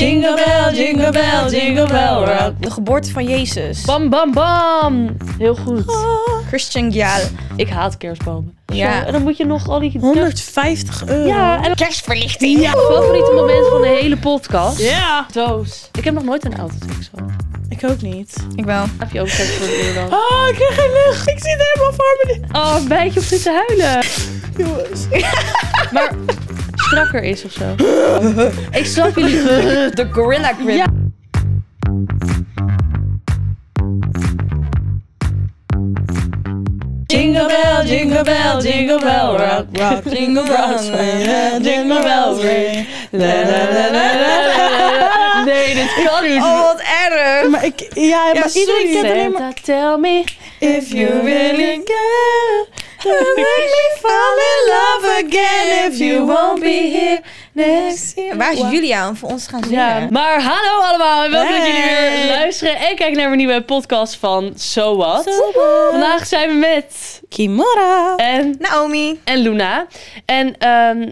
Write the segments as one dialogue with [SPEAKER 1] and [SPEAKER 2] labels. [SPEAKER 1] Jingle bell, jingle bell, jingle bell rock.
[SPEAKER 2] De geboorte van Jezus.
[SPEAKER 1] Bam, bam, bam. Heel goed.
[SPEAKER 2] Christian Gial.
[SPEAKER 1] Ik haat kerstbomen.
[SPEAKER 2] Ja.
[SPEAKER 1] Zo, en dan moet je nog al die...
[SPEAKER 3] 150 euro.
[SPEAKER 1] Ja, en
[SPEAKER 2] Kerstverlichting.
[SPEAKER 1] Ja. Favoriete moment van de hele podcast.
[SPEAKER 3] Ja.
[SPEAKER 1] Doos. Ik heb nog nooit een autotruck gehad.
[SPEAKER 3] Ik ook niet.
[SPEAKER 2] Ik wel.
[SPEAKER 1] Heb je ook gek voor de euro?
[SPEAKER 3] Ah, ik krijg geen lucht. Ik zit helemaal voor me.
[SPEAKER 1] Oh, een bijtje op zitten huilen.
[SPEAKER 3] Jongens.
[SPEAKER 1] Maar strakker is of zo. Ik snap jullie.
[SPEAKER 2] De Gorilla Grip.
[SPEAKER 1] Ja.
[SPEAKER 3] Jingle bell, jingle bell, jingle bell rock, rock.
[SPEAKER 2] Jingle
[SPEAKER 1] Oh,
[SPEAKER 2] bells ring,
[SPEAKER 3] yeah, jingle bells ring. La, la, la, la, la, la.
[SPEAKER 1] Nee, dit kan niet.
[SPEAKER 2] Oh, wat erg.
[SPEAKER 3] Maar ik, ja, maar
[SPEAKER 2] sorry,
[SPEAKER 3] iedereen kent alleen maar...
[SPEAKER 1] Santa, tell me.
[SPEAKER 3] If you really care, you make me fall in love again. If you won't be here next year.
[SPEAKER 2] Waar is Julia om voor ons te gaan zingen?
[SPEAKER 1] Ja, maar hallo allemaal en welkom dat jullie weer
[SPEAKER 3] Hey.
[SPEAKER 1] luisteren en kijken naar een nieuwe podcast van So What. Vandaag zijn we met
[SPEAKER 3] Kimora.
[SPEAKER 1] en,
[SPEAKER 2] Naomi.
[SPEAKER 1] en Luna. En ehm,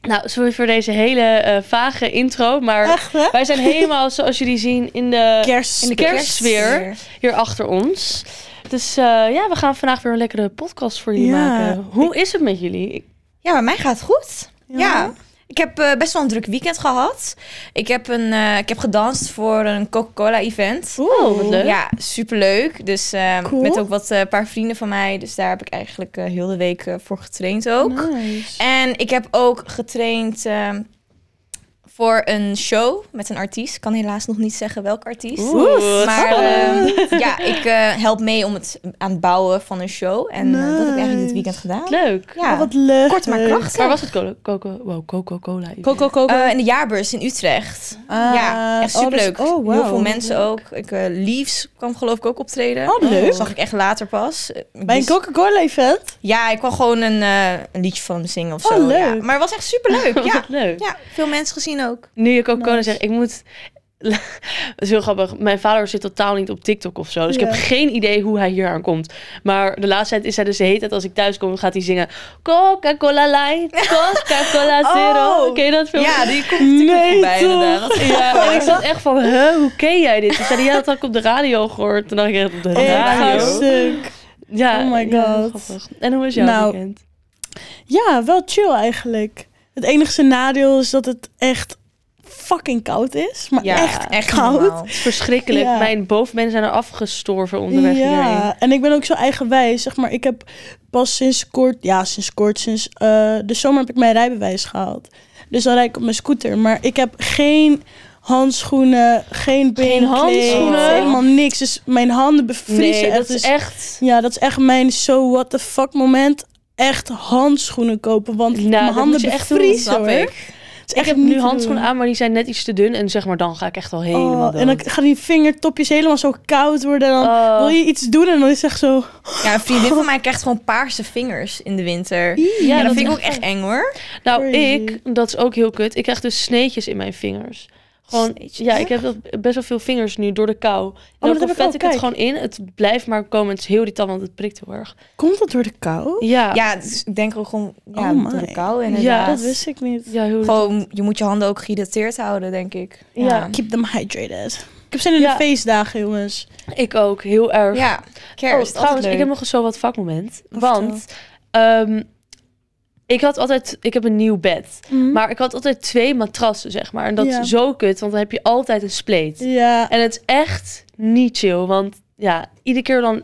[SPEAKER 1] nou, sorry voor deze hele eh, vage intro, maar
[SPEAKER 3] Echt, hè?
[SPEAKER 1] wij zijn helemaal, zoals jullie zien, in de,
[SPEAKER 3] Kerst.
[SPEAKER 1] in de kerstsfeer hier achter ons. Dus eh, ja, we gaan vandaag weer een lekkere podcast voor jullie
[SPEAKER 3] Ja.
[SPEAKER 1] maken. Hoe is het met jullie? Ik-
[SPEAKER 2] Ja, bij mij gaat het goed. Ja.
[SPEAKER 3] Ja.
[SPEAKER 2] Ik heb eh, best wel een druk weekend gehad. Ik heb, een, eh, ik heb gedanst voor een Coca-Cola event.
[SPEAKER 1] Oh, wat leuk.
[SPEAKER 2] Ja, superleuk. Dus eh,
[SPEAKER 3] Cool.
[SPEAKER 2] met ook wat eh, paar vrienden van mij. Dus daar heb ik eigenlijk eh, heel de week eh, voor getraind ook.
[SPEAKER 3] Nice.
[SPEAKER 2] En ik heb ook getraind ehm, voor een show met een artiest. Ik kan helaas nog niet zeggen welke artiest.
[SPEAKER 1] Oeh,
[SPEAKER 2] maar
[SPEAKER 1] spannend.
[SPEAKER 2] ehm, ja, ik eh, help mee om het aan het bouwen van een show. En eh, dat heb ik eigenlijk dit weekend gedaan.
[SPEAKER 1] Leuk.
[SPEAKER 2] Ja,
[SPEAKER 3] Oh, wat leuk.
[SPEAKER 2] kort maar krachtig.
[SPEAKER 1] Waar was het? Cola- Coca- wow, Coca-Cola. event.
[SPEAKER 3] Coco, Coco.
[SPEAKER 2] Eh, in de jaarbeurs in Utrecht.
[SPEAKER 3] oh, Ah,
[SPEAKER 2] ja, echt
[SPEAKER 3] oh, dat is-
[SPEAKER 2] superleuk.
[SPEAKER 3] oh, wauw.
[SPEAKER 2] Heel veel mensen ook. Ik, eh Leaves kwam geloof ik ook optreden.
[SPEAKER 3] Oh, leuk.
[SPEAKER 2] Zag ik echt later pas. Eh, ik
[SPEAKER 3] Bij een
[SPEAKER 2] wist-
[SPEAKER 3] Coca-Cola event?
[SPEAKER 2] Ja, ik kwam gewoon een, eh, een liedje van hem zingen of
[SPEAKER 3] Oh,
[SPEAKER 2] zo. ja.
[SPEAKER 3] leuk.
[SPEAKER 2] Maar het was echt superleuk. ja.
[SPEAKER 1] Wat leuk.
[SPEAKER 2] ja, veel mensen gezien ook.
[SPEAKER 1] Nu je Coca-Cola
[SPEAKER 3] Nice.
[SPEAKER 1] zegt, ik moet... Het is heel grappig. Mijn vader zit totaal niet op TikTok of zo. Dus ik
[SPEAKER 3] Ja.
[SPEAKER 1] heb geen idee hoe hij hier aan komt. Maar de laatste tijd is hij dus de hele tijd als ik thuis kom, gaat hij zingen... Coca-Cola light, Coca-Cola zero.
[SPEAKER 3] Oh.
[SPEAKER 1] Ken je dat filmpje?
[SPEAKER 2] Ja, die komt natuurlijk
[SPEAKER 3] Nee,
[SPEAKER 2] voorbij
[SPEAKER 3] toch?
[SPEAKER 2] inderdaad. Wat
[SPEAKER 1] Ja, en ik zat echt van, huh, hoe ken jij dit? Toen zei hij, ja, dat had ik op de radio gehoord. Toen dacht ik, echt, op de
[SPEAKER 3] Ik Eh, ga
[SPEAKER 1] radio?
[SPEAKER 3] stuk.
[SPEAKER 1] Ja,
[SPEAKER 3] Oh my
[SPEAKER 1] ja,
[SPEAKER 3] god.
[SPEAKER 1] grappig. en hoe is jouw
[SPEAKER 3] Nou,
[SPEAKER 1] weekend?
[SPEAKER 3] Ja, wel chill eigenlijk. Het enige nadeel is dat het echt fucking koud is. Maar
[SPEAKER 2] Ja,
[SPEAKER 3] echt,
[SPEAKER 2] echt
[SPEAKER 3] koud.
[SPEAKER 2] normaal.
[SPEAKER 1] Het is verschrikkelijk.
[SPEAKER 3] ja.
[SPEAKER 1] Mijn bovenbenen zijn er afgestorven onderweg hierheen.
[SPEAKER 3] Ja, en ik ben ook zo eigenwijs. Zeg maar, ik heb pas sinds kort, ja, sinds kort, sinds eh, de zomer heb ik mijn rijbewijs gehaald. Dus dan rijd ik op mijn scooter. Maar ik heb geen handschoenen, geen beenkleed,
[SPEAKER 1] handschoenen?
[SPEAKER 3] helemaal niks. Dus mijn handen bevriezen.
[SPEAKER 1] Nee,
[SPEAKER 3] echt.
[SPEAKER 1] dat is
[SPEAKER 3] Dus-
[SPEAKER 1] echt...
[SPEAKER 3] Ja, dat is echt mijn so what the fuck moment. Echt handschoenen kopen, want
[SPEAKER 1] Nou,
[SPEAKER 3] mijn
[SPEAKER 1] dat
[SPEAKER 3] handen
[SPEAKER 1] moet je echt doen,
[SPEAKER 3] bevriezen
[SPEAKER 2] Snap
[SPEAKER 3] hoor.
[SPEAKER 2] ik.
[SPEAKER 3] Het is
[SPEAKER 1] Ik
[SPEAKER 3] echt
[SPEAKER 1] heb
[SPEAKER 3] niet
[SPEAKER 1] nu
[SPEAKER 3] te
[SPEAKER 1] handschoenen
[SPEAKER 3] doen.
[SPEAKER 1] aan, maar die zijn net iets te dun. En zeg maar, dan ga ik echt al helemaal
[SPEAKER 3] Oh, en dan
[SPEAKER 1] dood.
[SPEAKER 3] gaan die vingertopjes helemaal zo koud worden. En dan
[SPEAKER 1] Oh.
[SPEAKER 3] wil je iets doen en dan is het echt zo...
[SPEAKER 2] Ja, een vriendin van mij krijgt gewoon paarse vingers in de winter. Ja,
[SPEAKER 1] Ja,
[SPEAKER 2] dat
[SPEAKER 1] dat
[SPEAKER 2] vind ik ook echt eng hoor.
[SPEAKER 1] Nou,
[SPEAKER 3] crazy.
[SPEAKER 1] ik, dat is ook heel kut. Ik krijg dus sneetjes in mijn vingers. Gewoon,
[SPEAKER 2] Sneetjes?
[SPEAKER 1] ja, ik heb dat best wel veel vingers nu door de kou. En dan
[SPEAKER 3] Oh, dat heb ik
[SPEAKER 1] vet
[SPEAKER 3] ook,
[SPEAKER 1] ik het
[SPEAKER 3] kijk.
[SPEAKER 1] gewoon in. Het blijft maar komen. Het is heel irritant, want het prikt heel erg.
[SPEAKER 3] Komt dat door de kou?
[SPEAKER 1] Ja, ja.
[SPEAKER 2] Ja, dus ik denk ook gewoon ja,
[SPEAKER 3] Oh
[SPEAKER 2] door de
[SPEAKER 3] my.
[SPEAKER 2] kou inderdaad.
[SPEAKER 1] Ja,
[SPEAKER 3] Dat wist ik niet.
[SPEAKER 1] heel
[SPEAKER 2] Gewoon, je moet je handen ook gehydrateerd houden, denk ik.
[SPEAKER 1] Ja.
[SPEAKER 3] Keep them hydrated. Ik heb zin in
[SPEAKER 1] Ja.
[SPEAKER 3] de feestdagen, jongens.
[SPEAKER 1] Ik ook, heel erg.
[SPEAKER 2] Ja, kerst.
[SPEAKER 1] oh, trouwens, ik heb
[SPEAKER 2] nog...
[SPEAKER 1] nog een zo wat vakmoment.
[SPEAKER 3] Of
[SPEAKER 1] Want ehm, ik had altijd, ik heb een nieuw bed. Maar ik had altijd twee matrassen, zeg maar. En dat
[SPEAKER 3] Mhm. Ja.
[SPEAKER 1] is zo kut, want dan heb je altijd een spleet.
[SPEAKER 3] Ja.
[SPEAKER 1] En het is echt niet chill, want ja, iedere keer dan...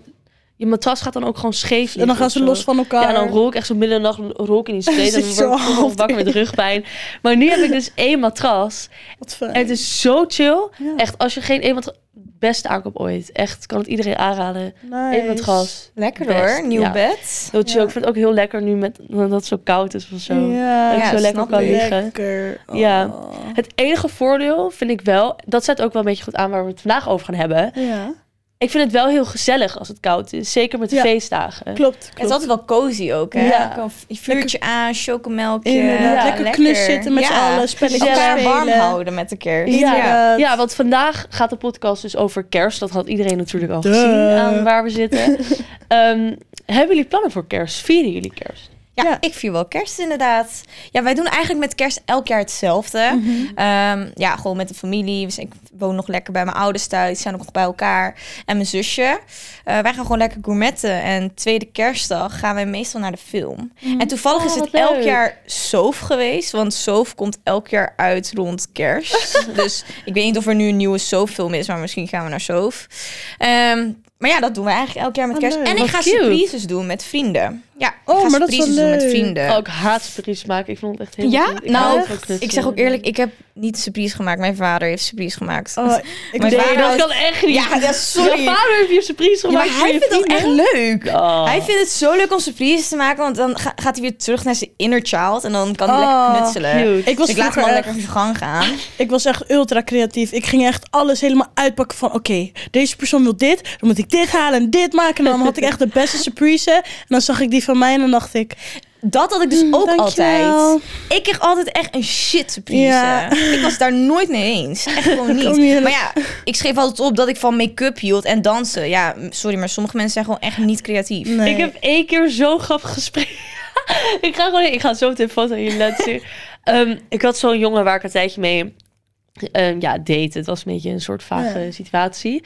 [SPEAKER 1] Je matras gaat dan ook gewoon scheef
[SPEAKER 3] En dan
[SPEAKER 1] liggen
[SPEAKER 3] gaan
[SPEAKER 1] of
[SPEAKER 3] ze
[SPEAKER 1] zo.
[SPEAKER 3] los van elkaar.
[SPEAKER 1] Ja, en dan rol ik echt zo midden in de nacht rol ik in die spleet. en
[SPEAKER 3] Zit
[SPEAKER 1] dan
[SPEAKER 3] zo
[SPEAKER 1] word ik gewoon
[SPEAKER 3] half
[SPEAKER 1] wakker met rugpijn. Maar nu heb ik dus één matras.
[SPEAKER 3] Wat fijn.
[SPEAKER 1] En het is zo chill.
[SPEAKER 3] Ja.
[SPEAKER 1] Echt, als je geen één matras... Beste aankoop ooit. Echt, kan het iedereen aanraden.
[SPEAKER 3] nice.
[SPEAKER 1] Eén matras.
[SPEAKER 2] Lekker
[SPEAKER 1] Best,
[SPEAKER 2] hoor, nieuw
[SPEAKER 1] ja.
[SPEAKER 2] bed.
[SPEAKER 1] Heel chill.
[SPEAKER 3] Ja.
[SPEAKER 1] Ik vind het ook heel lekker nu met, dat het zo koud is of zo.
[SPEAKER 3] Ja.
[SPEAKER 1] Dat ik
[SPEAKER 2] Ja,
[SPEAKER 1] zo lekker
[SPEAKER 2] snap
[SPEAKER 1] kan
[SPEAKER 2] ik.
[SPEAKER 1] liggen.
[SPEAKER 3] Lekker. Oh.
[SPEAKER 1] Ja. Het enige voordeel vind ik wel, dat zet ook wel een beetje goed aan waar we het vandaag over gaan hebben.
[SPEAKER 3] Ja.
[SPEAKER 1] Ik vind het wel heel gezellig als het koud is, zeker met de
[SPEAKER 3] Ja.
[SPEAKER 1] feestdagen.
[SPEAKER 3] Klopt, klopt.
[SPEAKER 2] Het is altijd wel cozy ook, hè?
[SPEAKER 1] Ja.
[SPEAKER 2] Gewoon v- Vuurtje aan, chocomelkje.
[SPEAKER 3] Inderdaad,
[SPEAKER 1] Ja,
[SPEAKER 3] lekker, knus zitten met
[SPEAKER 2] Ja.
[SPEAKER 3] z'n allen, spelletjes
[SPEAKER 1] Gezellig.
[SPEAKER 2] Elkaar
[SPEAKER 3] spelen.
[SPEAKER 2] warm houden met de kerst.
[SPEAKER 3] Ja.
[SPEAKER 1] Ja.
[SPEAKER 3] Inderdaad.
[SPEAKER 1] ja, want vandaag gaat de podcast dus over kerst. Dat had iedereen natuurlijk al
[SPEAKER 3] Duh.
[SPEAKER 1] gezien aan waar we zitten. Ehm, hebben jullie plannen voor kerst? Vieren jullie kerst?
[SPEAKER 2] Ja,
[SPEAKER 3] Ja.
[SPEAKER 2] ik vier wel kerst inderdaad. Ja, wij doen eigenlijk met kerst elk jaar hetzelfde.
[SPEAKER 1] Mhm.
[SPEAKER 3] Oh, Mhm.
[SPEAKER 2] Ehm, ja, gewoon met de familie. Dus ik woon nog lekker bij mijn ouders thuis. Die zijn ook nog bij elkaar. En mijn zusje. Eh, wij gaan gewoon lekker gourmetten. En tweede kerstdag gaan wij meestal naar de film. En toevallig
[SPEAKER 1] Oh,
[SPEAKER 2] is het
[SPEAKER 1] wat
[SPEAKER 2] elk
[SPEAKER 1] leuk.
[SPEAKER 2] jaar Soof geweest. Want Soof komt elk jaar uit rond kerst. dus ik weet niet of er nu een nieuwe Soof film is. Maar misschien gaan we naar Soof. Ehm, maar ja, dat doen we eigenlijk elk jaar met
[SPEAKER 3] Wat
[SPEAKER 2] kerst.
[SPEAKER 3] leuk.
[SPEAKER 2] En ik
[SPEAKER 1] Oh, Wat
[SPEAKER 2] ga
[SPEAKER 1] cute.
[SPEAKER 2] surprises doen met vrienden. Ja, ik
[SPEAKER 3] Oh,
[SPEAKER 2] ga
[SPEAKER 3] maar dat is wel
[SPEAKER 2] surprises doen met
[SPEAKER 3] leuk.
[SPEAKER 2] vrienden.
[SPEAKER 1] Oh, ik haat surprise maken. Ik vond het echt heel
[SPEAKER 2] Ja?
[SPEAKER 1] goed. Ik
[SPEAKER 2] Nou,
[SPEAKER 1] hou van knutselen.
[SPEAKER 2] Ik zeg ook eerlijk, ik heb niet surprise gemaakt. Mijn vader heeft surprise gemaakt.
[SPEAKER 3] Oh, ik
[SPEAKER 2] Mijn
[SPEAKER 3] deed-
[SPEAKER 1] Nee,
[SPEAKER 2] vader
[SPEAKER 1] dat
[SPEAKER 2] houdt-
[SPEAKER 1] kan echt niet.
[SPEAKER 2] ja, ja, sorry.
[SPEAKER 1] Je vader heeft je surprise
[SPEAKER 2] Ja,
[SPEAKER 1] gemaakt.
[SPEAKER 2] maar hij vindt dat echt leuk.
[SPEAKER 1] Oh.
[SPEAKER 2] Hij vindt het zo leuk om surprises te maken, want dan ga- gaat hij weer terug naar zijn inner child en dan kan hij
[SPEAKER 3] Oh,
[SPEAKER 2] lekker knutselen.
[SPEAKER 1] cute.
[SPEAKER 3] ik,
[SPEAKER 2] Dus
[SPEAKER 3] was
[SPEAKER 2] ik laat hem
[SPEAKER 3] vroeger
[SPEAKER 2] al
[SPEAKER 3] echt-
[SPEAKER 2] lekker voor zijn gang gaan.
[SPEAKER 3] ik was echt ultra creatief. Ik ging echt alles helemaal uitpakken van... oké, deze persoon wil dit, dan moet ik dit halen en dit maken. En dan had ik echt de beste surprise. En dan zag ik die van mij en dan dacht ik...
[SPEAKER 2] Dat had ik dus ook
[SPEAKER 3] Mm, dankjewel.
[SPEAKER 2] altijd. Ik kreeg altijd echt een shit surprise.
[SPEAKER 3] Ja.
[SPEAKER 2] Ik was daar nooit mee eens. Echt gewoon
[SPEAKER 3] kan niet.
[SPEAKER 2] niet. Maar ja, ik schreef altijd op dat ik van make-up hield en dansen. Ja, m- sorry, maar sommige mensen zijn gewoon echt niet creatief.
[SPEAKER 3] Nee.
[SPEAKER 1] Ik heb één keer zo'n grappig gesprek. ik ga gewoon, ik ga zo meteen foto aan jullie laten zien. Ehm, ik had zo'n jongen waar ik een tijdje mee ehm, ja, date. Het was een beetje een soort vage
[SPEAKER 3] Ja.
[SPEAKER 1] situatie.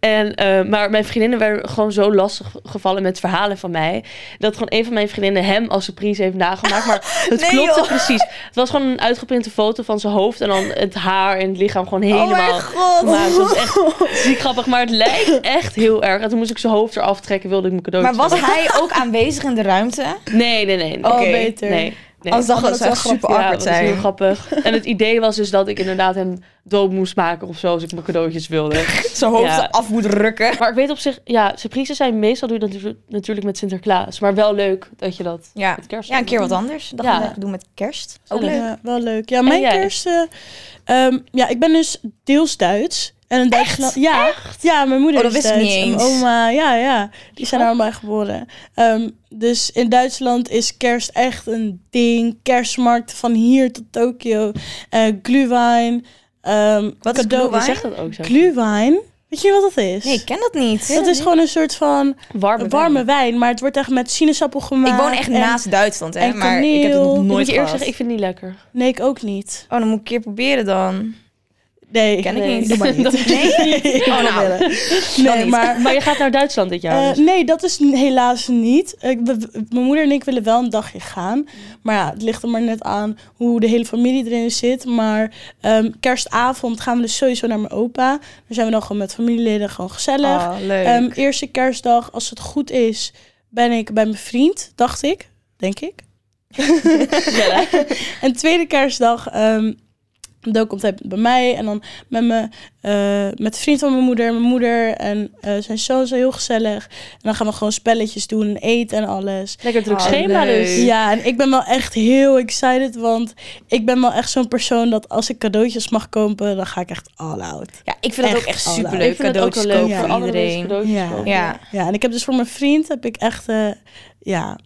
[SPEAKER 1] En, ehm, maar mijn vriendinnen werden gewoon zo lastig gevallen met verhalen van mij. Dat gewoon een van mijn vriendinnen hem als surprise heeft nagemaakt. Maar het
[SPEAKER 2] Nee,
[SPEAKER 1] klopte
[SPEAKER 2] joh.
[SPEAKER 1] precies. Het was gewoon een uitgeprinte foto van zijn hoofd en dan het haar en het lichaam gewoon helemaal.
[SPEAKER 2] Oh mijn god.
[SPEAKER 1] Maar het was echt ziek grappig, maar het lijkt echt heel erg. En toen moest ik zijn hoofd eraf trekken, wilde ik mijn cadeautje.
[SPEAKER 2] Maar was hij ook aanwezig in de ruimte?
[SPEAKER 1] Nee, nee, nee. nee.
[SPEAKER 2] Oh,
[SPEAKER 1] Oké.
[SPEAKER 3] beter.
[SPEAKER 1] Nee. nee.
[SPEAKER 2] Als dat
[SPEAKER 3] Oh, dat
[SPEAKER 2] zou
[SPEAKER 3] zou
[SPEAKER 2] echt super
[SPEAKER 3] grappig-
[SPEAKER 1] ja, dat
[SPEAKER 2] awkward
[SPEAKER 1] is heel
[SPEAKER 2] zijn.
[SPEAKER 1] grappig. En het idee was dus dat ik inderdaad hem dood moest maken of zo, als ik mijn cadeautjes wilde.
[SPEAKER 2] Zijn hoofd
[SPEAKER 1] Ja.
[SPEAKER 2] af moet rukken.
[SPEAKER 1] Maar ik weet op zich, ja, surprises zijn meestal doe je dat natu- natuurlijk met Sinterklaas. Maar wel leuk dat je dat
[SPEAKER 2] Ja.
[SPEAKER 1] met kerst
[SPEAKER 2] ja, een keer wat anders. Dat gaan
[SPEAKER 1] Ja.
[SPEAKER 2] we lekker doen met kerst. Ook
[SPEAKER 1] Leuk.
[SPEAKER 3] Oh, Ja, wel leuk. Ja, mijn
[SPEAKER 1] jij?
[SPEAKER 3] kerst... eh, ehm, ja, ik ben dus deels Duits. En in Duitsland... Ja, ja, mijn moeder
[SPEAKER 2] Oh, dat
[SPEAKER 3] is
[SPEAKER 2] wist ik
[SPEAKER 3] Duits.
[SPEAKER 2] niet
[SPEAKER 3] en mijn
[SPEAKER 2] eens.
[SPEAKER 3] oma, ja, ja. Die zijn
[SPEAKER 1] Oh.
[SPEAKER 3] allemaal geboren. Ehm, dus in Duitsland is kerst echt een ding. Kerstmarkten van hier tot Tokio. eh glühwein. ehm
[SPEAKER 2] Wat is
[SPEAKER 1] Je
[SPEAKER 2] glühwein?
[SPEAKER 1] zegt dat ook zo.
[SPEAKER 3] Glühwein? Weet je wat dat is?
[SPEAKER 2] Nee, ik ken dat niet.
[SPEAKER 3] dat is gewoon een soort van
[SPEAKER 1] Warme,
[SPEAKER 3] warme wijn, maar het wordt echt met sinaasappel gemaakt.
[SPEAKER 2] ik woon echt
[SPEAKER 3] en-
[SPEAKER 2] naast Duitsland, hè,
[SPEAKER 3] en
[SPEAKER 2] maar ik heb het nog
[SPEAKER 3] kaneel.
[SPEAKER 1] Moet
[SPEAKER 2] nooit
[SPEAKER 1] je eerlijk
[SPEAKER 2] gehad.
[SPEAKER 1] zeggen, ik vind het niet lekker.
[SPEAKER 3] Nee, ik ook niet.
[SPEAKER 2] Oh, dan moet ik een keer proberen dan.
[SPEAKER 3] Nee,
[SPEAKER 2] Ken ik
[SPEAKER 1] Nee.
[SPEAKER 2] niet.
[SPEAKER 1] Doe maar niet.
[SPEAKER 3] Nee, ik
[SPEAKER 2] Oh,
[SPEAKER 3] wil
[SPEAKER 2] nou.
[SPEAKER 3] willen.
[SPEAKER 2] Dan
[SPEAKER 3] Nee,
[SPEAKER 2] niet.
[SPEAKER 3] maar...
[SPEAKER 1] Maar je gaat naar Duitsland dit jaar.
[SPEAKER 3] eh,
[SPEAKER 1] dus.
[SPEAKER 3] nee, dat is n- helaas niet. Ik, we- we- mijn moeder en ik willen wel een dagje gaan. Maar ja, het ligt er maar net aan hoe de hele familie erin zit. Maar ehm, kerstavond gaan we dus sowieso naar mijn opa. Dan zijn we dan gewoon met familieleden gewoon gezellig.
[SPEAKER 2] Oh, leuk.
[SPEAKER 3] Ehm, eerste kerstdag, als het goed is, ben ik bij mijn vriend, dacht ik. Denk ik.
[SPEAKER 1] Gezellig.
[SPEAKER 3] En tweede kerstdag, ehm dan komt hij bij mij en dan met, me, eh, met de vriend van mijn moeder, mijn moeder en eh, zijn zoon zijn heel gezellig. En dan gaan we gewoon spelletjes doen en eten en alles.
[SPEAKER 1] Lekker druk
[SPEAKER 2] Oh,
[SPEAKER 1] schema
[SPEAKER 2] leuk.
[SPEAKER 1] dus.
[SPEAKER 3] Ja, en ik ben wel echt heel excited, want ik ben wel echt zo'n persoon dat als ik cadeautjes mag kopen, dan ga ik echt all out.
[SPEAKER 2] ja, ik vind het ook
[SPEAKER 3] echt
[SPEAKER 2] echt
[SPEAKER 3] alle-
[SPEAKER 1] Ik
[SPEAKER 2] superleuk.
[SPEAKER 1] vind het ook wel
[SPEAKER 2] Cadeautjes
[SPEAKER 1] leuk
[SPEAKER 2] kopen
[SPEAKER 1] voor
[SPEAKER 2] voor
[SPEAKER 1] andere mensen
[SPEAKER 2] iedereen.
[SPEAKER 1] cadeautjes
[SPEAKER 3] Ja.
[SPEAKER 1] kopen.
[SPEAKER 2] Ja.
[SPEAKER 3] Ja, en ik heb dus voor mijn vriend, heb ik echt, eh, ja,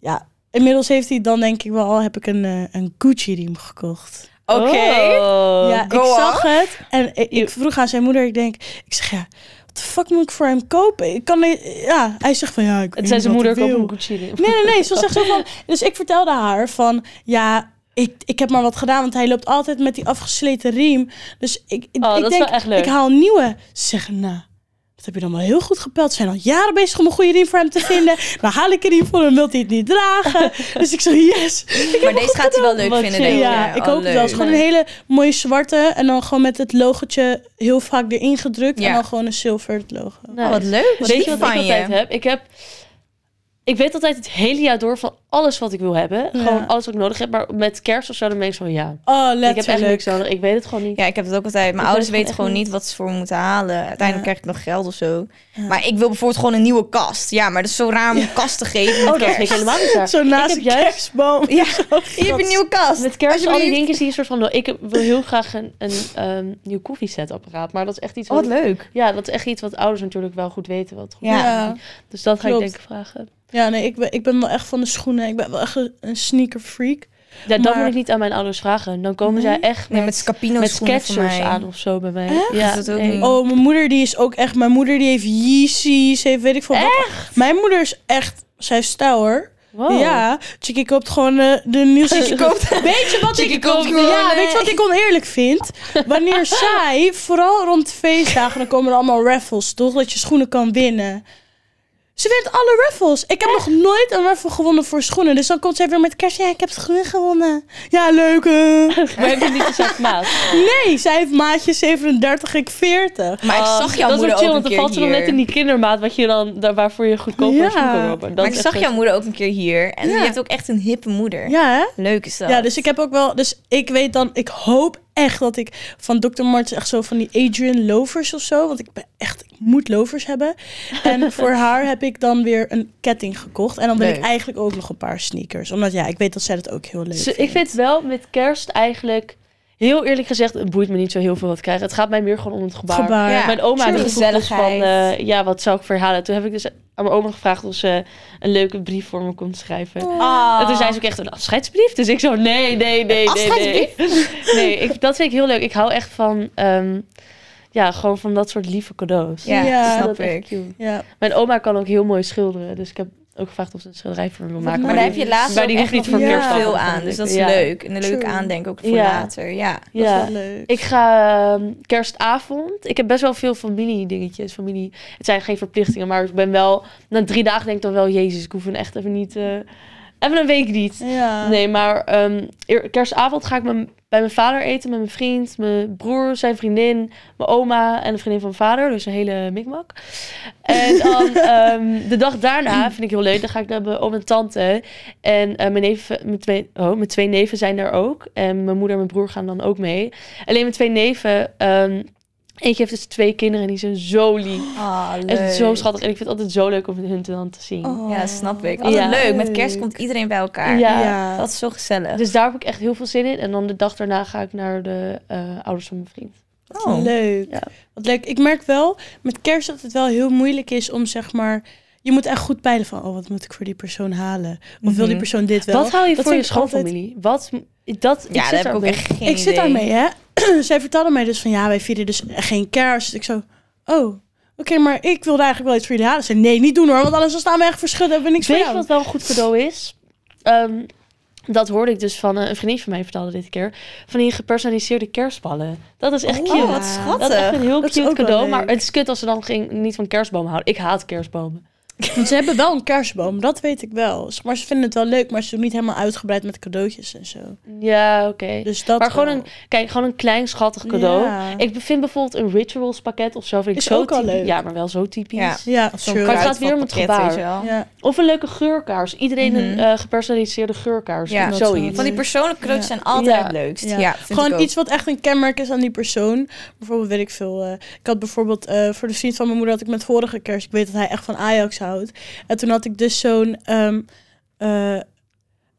[SPEAKER 3] ja. Inmiddels heeft hij dan denk ik wel, al heb ik een, eh, een Gucci riem gekocht.
[SPEAKER 2] Oké.
[SPEAKER 1] Oh.
[SPEAKER 3] ja, ik
[SPEAKER 2] go
[SPEAKER 3] zag het en ik, ik vroeg aan zijn moeder, ik denk, ik zeg ja, wat de fuck moet ik voor hem kopen? Ik kan, niet- ja, hij zegt van ja, ik weet
[SPEAKER 1] Het zijn
[SPEAKER 3] niet
[SPEAKER 1] zijn
[SPEAKER 3] wat
[SPEAKER 1] moeder
[SPEAKER 3] ik
[SPEAKER 1] kopen
[SPEAKER 3] wil.
[SPEAKER 1] een Gucci. ring.
[SPEAKER 3] Nee, nee, nee, ze was echt zo van, dus ik vertelde haar van ja, ik, ik heb maar wat gedaan, want hij loopt altijd met die afgesleten riem. Dus ik, ik,
[SPEAKER 1] Oh,
[SPEAKER 3] ik
[SPEAKER 1] dat is
[SPEAKER 3] denk,
[SPEAKER 1] wel echt leuk.
[SPEAKER 3] ik haal een nieuwe. Ze zeggen nou. Dat heb je dan wel heel goed gepeld. Ze zijn al jaren bezig om een goede riem voor hem te vinden. Dan haal ik een riem voor hem, wil hij het niet dragen. Dus ik zeg, yes.
[SPEAKER 2] Maar deze gaat hij wel leuk
[SPEAKER 1] Wat
[SPEAKER 2] vinden,
[SPEAKER 1] chill.
[SPEAKER 2] denk ik. oh,
[SPEAKER 3] Ja,
[SPEAKER 1] oh,
[SPEAKER 3] ik hoop het wel. Het is
[SPEAKER 2] leuk.
[SPEAKER 3] gewoon een hele mooie zwarte. En dan gewoon met het logotje heel vaak erin gedrukt.
[SPEAKER 2] Ja.
[SPEAKER 3] En dan gewoon een zilver logo.
[SPEAKER 1] Nice.
[SPEAKER 2] Oh, wat leuk. Wat
[SPEAKER 1] Weet
[SPEAKER 2] lief
[SPEAKER 1] je wat ik
[SPEAKER 2] van
[SPEAKER 1] altijd
[SPEAKER 2] je.
[SPEAKER 1] heb? Ik heb... Ik weet altijd het hele jaar door van alles wat ik wil hebben. Gewoon alles wat ik nodig heb. Maar met kerst of zo, dan ben ik zo van ja.
[SPEAKER 3] Oh,
[SPEAKER 1] Ik heb echt
[SPEAKER 3] letterlijk.
[SPEAKER 1] niks nodig. Ik weet het gewoon niet.
[SPEAKER 2] Ja, ik heb het ook altijd. Mijn
[SPEAKER 1] Ik
[SPEAKER 2] ouders
[SPEAKER 1] weet het
[SPEAKER 2] weten
[SPEAKER 1] gewoon
[SPEAKER 2] gewoon
[SPEAKER 1] echt
[SPEAKER 2] niet wat ze voor me moeten halen. Uiteindelijk
[SPEAKER 3] Ja.
[SPEAKER 2] krijg ik nog geld of zo.
[SPEAKER 3] Ja.
[SPEAKER 2] Maar ik wil bijvoorbeeld gewoon een nieuwe kast. Ja, maar dat is zo raar om een kast te geven. met
[SPEAKER 1] oh, dat
[SPEAKER 2] kerst.
[SPEAKER 1] vind ik helemaal niet raar.
[SPEAKER 3] Zo naast
[SPEAKER 1] heb
[SPEAKER 3] de
[SPEAKER 1] juist-
[SPEAKER 3] kerstboom. Oh,
[SPEAKER 2] Ja,
[SPEAKER 3] je
[SPEAKER 2] Je hebt een nieuwe kast.
[SPEAKER 1] Met kerst al die
[SPEAKER 2] Alsjeblieft.
[SPEAKER 1] dingetjes die een soort van... Ik heb- wil heel graag een, een ehm, nieuw koffiezetapparaat. Maar dat is echt iets
[SPEAKER 2] Oh,
[SPEAKER 1] wat...
[SPEAKER 2] wat leuk.
[SPEAKER 1] ja, dat is echt iets wat ouders natuurlijk wel goed weten. Wat goed
[SPEAKER 2] Ja.
[SPEAKER 1] is. Dus dat ga
[SPEAKER 3] Klopt.
[SPEAKER 1] ik denk ik vragen.
[SPEAKER 3] Ja, nee, ik ben, ik ben wel echt van de schoenen. Ik ben wel echt een- een sneaker freak.
[SPEAKER 1] Ja, dat
[SPEAKER 3] Maar-
[SPEAKER 1] moet ik niet aan mijn ouders vragen. Dan komen
[SPEAKER 3] Nee?
[SPEAKER 1] zij echt met,
[SPEAKER 2] Nee, met Scapino
[SPEAKER 1] met
[SPEAKER 2] schoenen voor
[SPEAKER 1] Skechers
[SPEAKER 2] mij.
[SPEAKER 1] aan of zo bij mij.
[SPEAKER 3] Echt?
[SPEAKER 1] Ja,
[SPEAKER 2] Is dat ook
[SPEAKER 1] nee.
[SPEAKER 2] niet?
[SPEAKER 3] Oh, mijn moeder die is ook echt... Mijn moeder die heeft Yeezys, heeft weet ik veel wat. Mijn moeder is echt... Zij heeft stijl hoor.
[SPEAKER 1] Wow.
[SPEAKER 3] Ja, Chickie koopt gewoon eh, de nieuwste...
[SPEAKER 1] Chickie
[SPEAKER 3] koopt... Weet je wat
[SPEAKER 2] Chickie
[SPEAKER 3] ik...
[SPEAKER 2] koopt gewoon,
[SPEAKER 3] ja,
[SPEAKER 2] eh,
[SPEAKER 3] weet je wat ik oneerlijk vind? Wanneer zij, vooral rond feestdagen, dan komen er allemaal raffles, toch? Dat je schoenen kan winnen. Ze wint alle raffles. Ik heb nog nooit een raffle gewonnen voor schoenen. Dus dan komt zij weer met kerst. Ja, ik heb schoenen gewonnen. Ja, leuk. eh.
[SPEAKER 1] Maar heb je niet gezegd maat?
[SPEAKER 3] Nee, zij heeft maatje 37, ik 40.
[SPEAKER 2] Maar ik
[SPEAKER 1] Oh,
[SPEAKER 2] zag jouw
[SPEAKER 1] dat is wel chill,
[SPEAKER 2] moeder ook een
[SPEAKER 1] want dan
[SPEAKER 2] keer
[SPEAKER 1] valt ze dan
[SPEAKER 2] hier.
[SPEAKER 1] net in die kindermaat wat je dan, daar- waarvoor je goedkoper
[SPEAKER 3] Ja.
[SPEAKER 1] schoen kan kopen. Dat
[SPEAKER 2] Maar
[SPEAKER 1] is
[SPEAKER 2] ik
[SPEAKER 1] echt
[SPEAKER 2] zag
[SPEAKER 1] goed.
[SPEAKER 2] jouw moeder ook een keer hier. En
[SPEAKER 3] Ja.
[SPEAKER 2] je hebt ook echt een hippe moeder.
[SPEAKER 3] Ja, hè?
[SPEAKER 2] Leuk is dat.
[SPEAKER 3] Ja, dus ik heb ook wel. Dus ik weet dan, ik hoop echt dat ik van Dr. Martens echt zo van die Adrian Lovers of zo. Want ik ben echt, ik moet lovers hebben. En voor haar heb ik dan weer een ketting gekocht. En dan wil ik
[SPEAKER 2] Leuk.
[SPEAKER 3] eigenlijk ook nog een paar sneakers. Omdat ja, ik weet dat zij dat ook heel leuk
[SPEAKER 1] Ze- ik vind wel met kerst eigenlijk, heel eerlijk gezegd, het boeit me niet zo heel veel wat ik krijg. Het gaat mij meer gewoon om het gebaar.
[SPEAKER 3] gebaar.
[SPEAKER 2] Ja.
[SPEAKER 1] Mijn oma
[SPEAKER 2] true.
[SPEAKER 1] had vroeg dus van,
[SPEAKER 2] Gezelligheid.
[SPEAKER 1] eh, ja, wat zou ik verhalen? Toen heb ik dus aan mijn oma gevraagd of ze een leuke brief voor me kon schrijven.
[SPEAKER 2] Ah.
[SPEAKER 1] En toen zei ze ook echt een afscheidsbrief. Dus ik zo, nee, nee, nee, nee, nee. Nee, ik, dat vind ik heel leuk. Ik hou echt van, ehm, ja, gewoon van dat soort lieve cadeaus.
[SPEAKER 2] Ja,
[SPEAKER 3] Ja,
[SPEAKER 1] Ik vind
[SPEAKER 2] snap
[SPEAKER 1] dat echt
[SPEAKER 2] ik.
[SPEAKER 1] cute.
[SPEAKER 3] Ja.
[SPEAKER 1] Mijn oma kan ook heel mooi schilderen. Dus ik heb ook gevraagd of ze een schilderij voor me wil maken.
[SPEAKER 3] nice.
[SPEAKER 2] Maar daar heb je laatst
[SPEAKER 1] maar
[SPEAKER 2] ook
[SPEAKER 1] die
[SPEAKER 2] echt
[SPEAKER 1] hoeft niet
[SPEAKER 2] nog
[SPEAKER 1] voor
[SPEAKER 3] heel
[SPEAKER 1] kerst
[SPEAKER 2] veel
[SPEAKER 3] veel
[SPEAKER 2] aan. Dus dat is
[SPEAKER 1] Ja.
[SPEAKER 2] leuk. En een leuk
[SPEAKER 3] True.
[SPEAKER 2] aandenk ook voor
[SPEAKER 1] Ja.
[SPEAKER 2] later. Ja.
[SPEAKER 3] Dat
[SPEAKER 1] Ja.
[SPEAKER 3] is wel leuk.
[SPEAKER 1] Ik ga ehm, kerstavond. Ik heb best wel veel familiedingetjes. Familie. Het zijn geen verplichtingen, maar ik ben wel. Na drie dagen denk ik dan wel, Jezus, ik hoef hem echt even niet. eh, even een week niet.
[SPEAKER 3] ja.
[SPEAKER 1] Nee, maar ehm, eer- kerstavond ga ik mijn- bij mijn vader eten met mijn vriend, mijn broer, zijn vriendin, mijn oma en de vriendin van mijn vader. Dus een hele mikmak. En dan ehm, de dag daarna vind ik heel leuk. Dan ga ik naar mijn oom en tante. En eh, mijn, neven, mijn, twee, oh, mijn twee neven zijn daar ook. En mijn moeder en mijn broer gaan dan ook mee. Alleen mijn twee neven. ehm, Eentje heeft dus twee kinderen en die zijn zo lief.
[SPEAKER 2] Ah, leuk.
[SPEAKER 1] Echt zo schattig. En ik vind het altijd zo leuk om hun dan te zien.
[SPEAKER 3] Oh.
[SPEAKER 2] Ja, snap ik. Altijd
[SPEAKER 1] Ja.
[SPEAKER 2] leuk. Met kerst komt iedereen bij elkaar.
[SPEAKER 1] Ja.
[SPEAKER 3] Ja.
[SPEAKER 2] Dat is zo gezellig.
[SPEAKER 1] Dus daar heb ik echt heel veel zin in. En dan de dag daarna ga ik naar de eh, ouders van mijn vriend.
[SPEAKER 2] Oh.
[SPEAKER 3] Leuk.
[SPEAKER 1] Ja.
[SPEAKER 3] Wat leuk. Ik merk wel met kerst dat het wel heel moeilijk is om zeg maar. Je moet echt goed peilen van, oh, wat moet ik voor die persoon halen? Of wil die
[SPEAKER 2] Mhm.
[SPEAKER 3] persoon dit wel?
[SPEAKER 1] Wat hou je
[SPEAKER 3] Dat
[SPEAKER 1] voor je
[SPEAKER 3] vind ik altijd-
[SPEAKER 1] schoonfamilie? Wat, dat, ik
[SPEAKER 2] ja,
[SPEAKER 1] zit
[SPEAKER 2] daar heb ik
[SPEAKER 1] daar
[SPEAKER 2] ook
[SPEAKER 1] mee.
[SPEAKER 2] echt geen
[SPEAKER 3] ik zit
[SPEAKER 2] idee.
[SPEAKER 3] daarmee, hè? Zij vertelde mij dus van ja, wij vieren dus geen kerst. Ik zo, oh, oké, maar ik wilde eigenlijk wel iets voor jullie halen. Ze zei, nee, niet doen hoor, want anders dan staan we echt verschudden. Hebben we niks
[SPEAKER 1] Weet
[SPEAKER 3] voor
[SPEAKER 1] je
[SPEAKER 3] jou.
[SPEAKER 1] wat wel een goed cadeau is? Ehm, dat hoorde ik dus van eh, een vriendin van mij vertelde dit keer. Van die gepersonaliseerde kerstballen. Dat is echt
[SPEAKER 3] Oh,
[SPEAKER 1] cute.
[SPEAKER 2] Oh, wat
[SPEAKER 3] Ja.
[SPEAKER 1] dat is echt
[SPEAKER 2] schattig.
[SPEAKER 1] een heel
[SPEAKER 3] Dat is
[SPEAKER 1] cute
[SPEAKER 3] ook wel
[SPEAKER 1] cadeau.
[SPEAKER 3] leuk.
[SPEAKER 1] Maar het is kut als ze dan ging, niet van kerstbomen houden. Ik haat kerstbomen.
[SPEAKER 3] Want ze hebben wel een kerstboom, dat weet ik wel. Zeg Maar ze vinden het wel leuk, maar ze doen niet helemaal uitgebreid met cadeautjes en zo.
[SPEAKER 1] Ja, oké.
[SPEAKER 3] Dus dat
[SPEAKER 1] Maar gewoon
[SPEAKER 3] wel.
[SPEAKER 1] een, kijk, gewoon een klein schattig cadeau.
[SPEAKER 3] Ja.
[SPEAKER 1] Ik vind bijvoorbeeld een rituals pakket of zo. Vind ik
[SPEAKER 3] Is
[SPEAKER 1] zo
[SPEAKER 3] ook al
[SPEAKER 1] typisch.
[SPEAKER 3] leuk.
[SPEAKER 1] Ja, maar wel zo typisch.
[SPEAKER 2] Ja.
[SPEAKER 3] Ja,
[SPEAKER 2] Of zo'n
[SPEAKER 3] true.
[SPEAKER 1] Maar het gaat weer om het
[SPEAKER 2] kruidvatpakket,
[SPEAKER 1] gebaar.
[SPEAKER 2] weet je wel.
[SPEAKER 3] Ja.
[SPEAKER 1] Of een leuke geurkaars. Iedereen een
[SPEAKER 2] Mhm.
[SPEAKER 1] eh, gepersonaliseerde geurkaars.
[SPEAKER 2] Ja.
[SPEAKER 1] Ja, zoiets.
[SPEAKER 2] Van die persoonlijke cadeautjes
[SPEAKER 3] Ja.
[SPEAKER 2] zijn altijd
[SPEAKER 1] Ja.
[SPEAKER 2] het leukst.
[SPEAKER 3] Ja.
[SPEAKER 2] Ja, vind ik
[SPEAKER 3] Gewoon
[SPEAKER 2] ook.
[SPEAKER 3] iets wat echt een kenmerk is aan die persoon. Bijvoorbeeld, weet ik veel. eh, ik had bijvoorbeeld eh, voor de vriend van mijn moeder had ik met vorige kerst. Ik weet dat hij echt van Ajax houdt. En toen had ik dus zo'n ehm, eh, een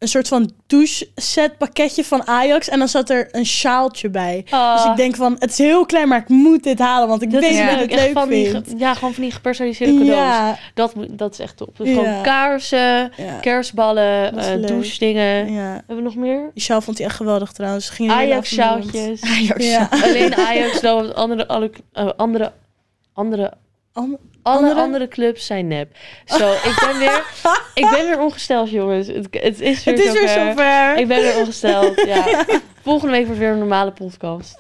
[SPEAKER 3] soort van douche set pakketje van Ajax. En dan zat er een sjaaltje bij. Dus ik denk van, het is heel klein, maar ik moet dit halen, want ik
[SPEAKER 1] Ah. dat
[SPEAKER 3] weet
[SPEAKER 1] is
[SPEAKER 2] ja.
[SPEAKER 3] dat
[SPEAKER 1] leuk.
[SPEAKER 3] ik het
[SPEAKER 1] Echt
[SPEAKER 3] leuk
[SPEAKER 1] van die ge-
[SPEAKER 3] vind.
[SPEAKER 1] ja, gewoon van die gepersonaliseerde cadeaus.
[SPEAKER 3] Ja,
[SPEAKER 1] Dat, moet- dat is echt top. Dus
[SPEAKER 3] Ja.
[SPEAKER 1] Gewoon kaarsen,
[SPEAKER 3] ja,
[SPEAKER 1] kerstballen,
[SPEAKER 3] Dat is
[SPEAKER 1] eh,
[SPEAKER 3] leuk.
[SPEAKER 1] douchedingen.
[SPEAKER 3] ja.
[SPEAKER 1] Hebben we nog meer?
[SPEAKER 3] Die sjaal vond hij echt geweldig trouwens. Ging hij heel erg van de rond.
[SPEAKER 1] Ajax-sjaaltjes.
[SPEAKER 2] Ajax.
[SPEAKER 3] Ja.
[SPEAKER 1] Alleen Ajax, dan andere, alle, eh, andere, andere,
[SPEAKER 3] An-
[SPEAKER 1] alle andere?
[SPEAKER 3] andere?
[SPEAKER 1] clubs zijn nep. Zo, ik ben weer, ik ben weer ongesteld, jongens. Het, het is weer
[SPEAKER 3] Het is weer zover.
[SPEAKER 1] Ik ben weer ongesteld, ja. Volgende week wordt weer een normale podcast.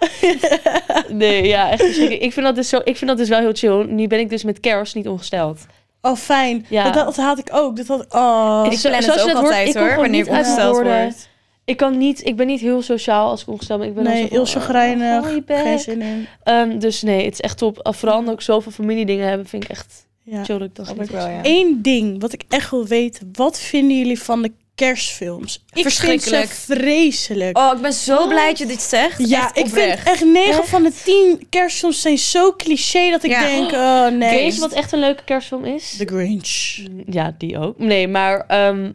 [SPEAKER 1] Nee, ja, echt verschrikkelijk. Ik vind dat dus, zo, ik vind dat dus wel heel chill. Nu ben ik dus met kerst niet ongesteld.
[SPEAKER 3] Oh, fijn.
[SPEAKER 1] Ja.
[SPEAKER 3] Dat, dat had ik ook. Dat had, oh.
[SPEAKER 2] Ik
[SPEAKER 1] Dus Zo-
[SPEAKER 2] plan het
[SPEAKER 1] zoals je
[SPEAKER 2] ook
[SPEAKER 1] dat hoort,
[SPEAKER 2] altijd
[SPEAKER 1] ik kom
[SPEAKER 2] hoor,
[SPEAKER 1] gewoon
[SPEAKER 2] wanneer ik
[SPEAKER 1] niet uit mijn
[SPEAKER 2] ongesteld
[SPEAKER 1] woorden.
[SPEAKER 2] word.
[SPEAKER 1] Ik kan niet, ik ben niet heel sociaal als ik ongesteld ben. Ik ben dan zo
[SPEAKER 3] nee,
[SPEAKER 1] van,
[SPEAKER 3] heel
[SPEAKER 1] oh,
[SPEAKER 3] chagrijnig.
[SPEAKER 1] gooi je bek.
[SPEAKER 3] geen zin in.
[SPEAKER 1] Ehm, dus nee, het is echt top. Af- Vooral omdat ook zoveel familiedingen hebben, vind ik echt
[SPEAKER 3] Ja.
[SPEAKER 1] chill dat ik dat
[SPEAKER 2] Snap
[SPEAKER 1] niet
[SPEAKER 2] ik wel, ja.
[SPEAKER 3] Eén ding wat ik echt wil weten. Wat vinden jullie van de kerstfilms? Ik vind ze
[SPEAKER 2] Verschrikkelijk.
[SPEAKER 3] vreselijk.
[SPEAKER 2] Oh, ik ben zo blij dat je dit zegt.
[SPEAKER 3] ja,
[SPEAKER 2] Echt
[SPEAKER 3] ik vind
[SPEAKER 2] oprecht.
[SPEAKER 3] echt 9
[SPEAKER 1] Echt?
[SPEAKER 3] van de 10 kerstfilms zijn zo cliché dat ik
[SPEAKER 2] Ja.
[SPEAKER 3] denk, oh nee.
[SPEAKER 1] Weet je wat echt een leuke kerstfilm is?
[SPEAKER 3] The Grinch.
[SPEAKER 1] Ja, die ook. Nee, maar ehm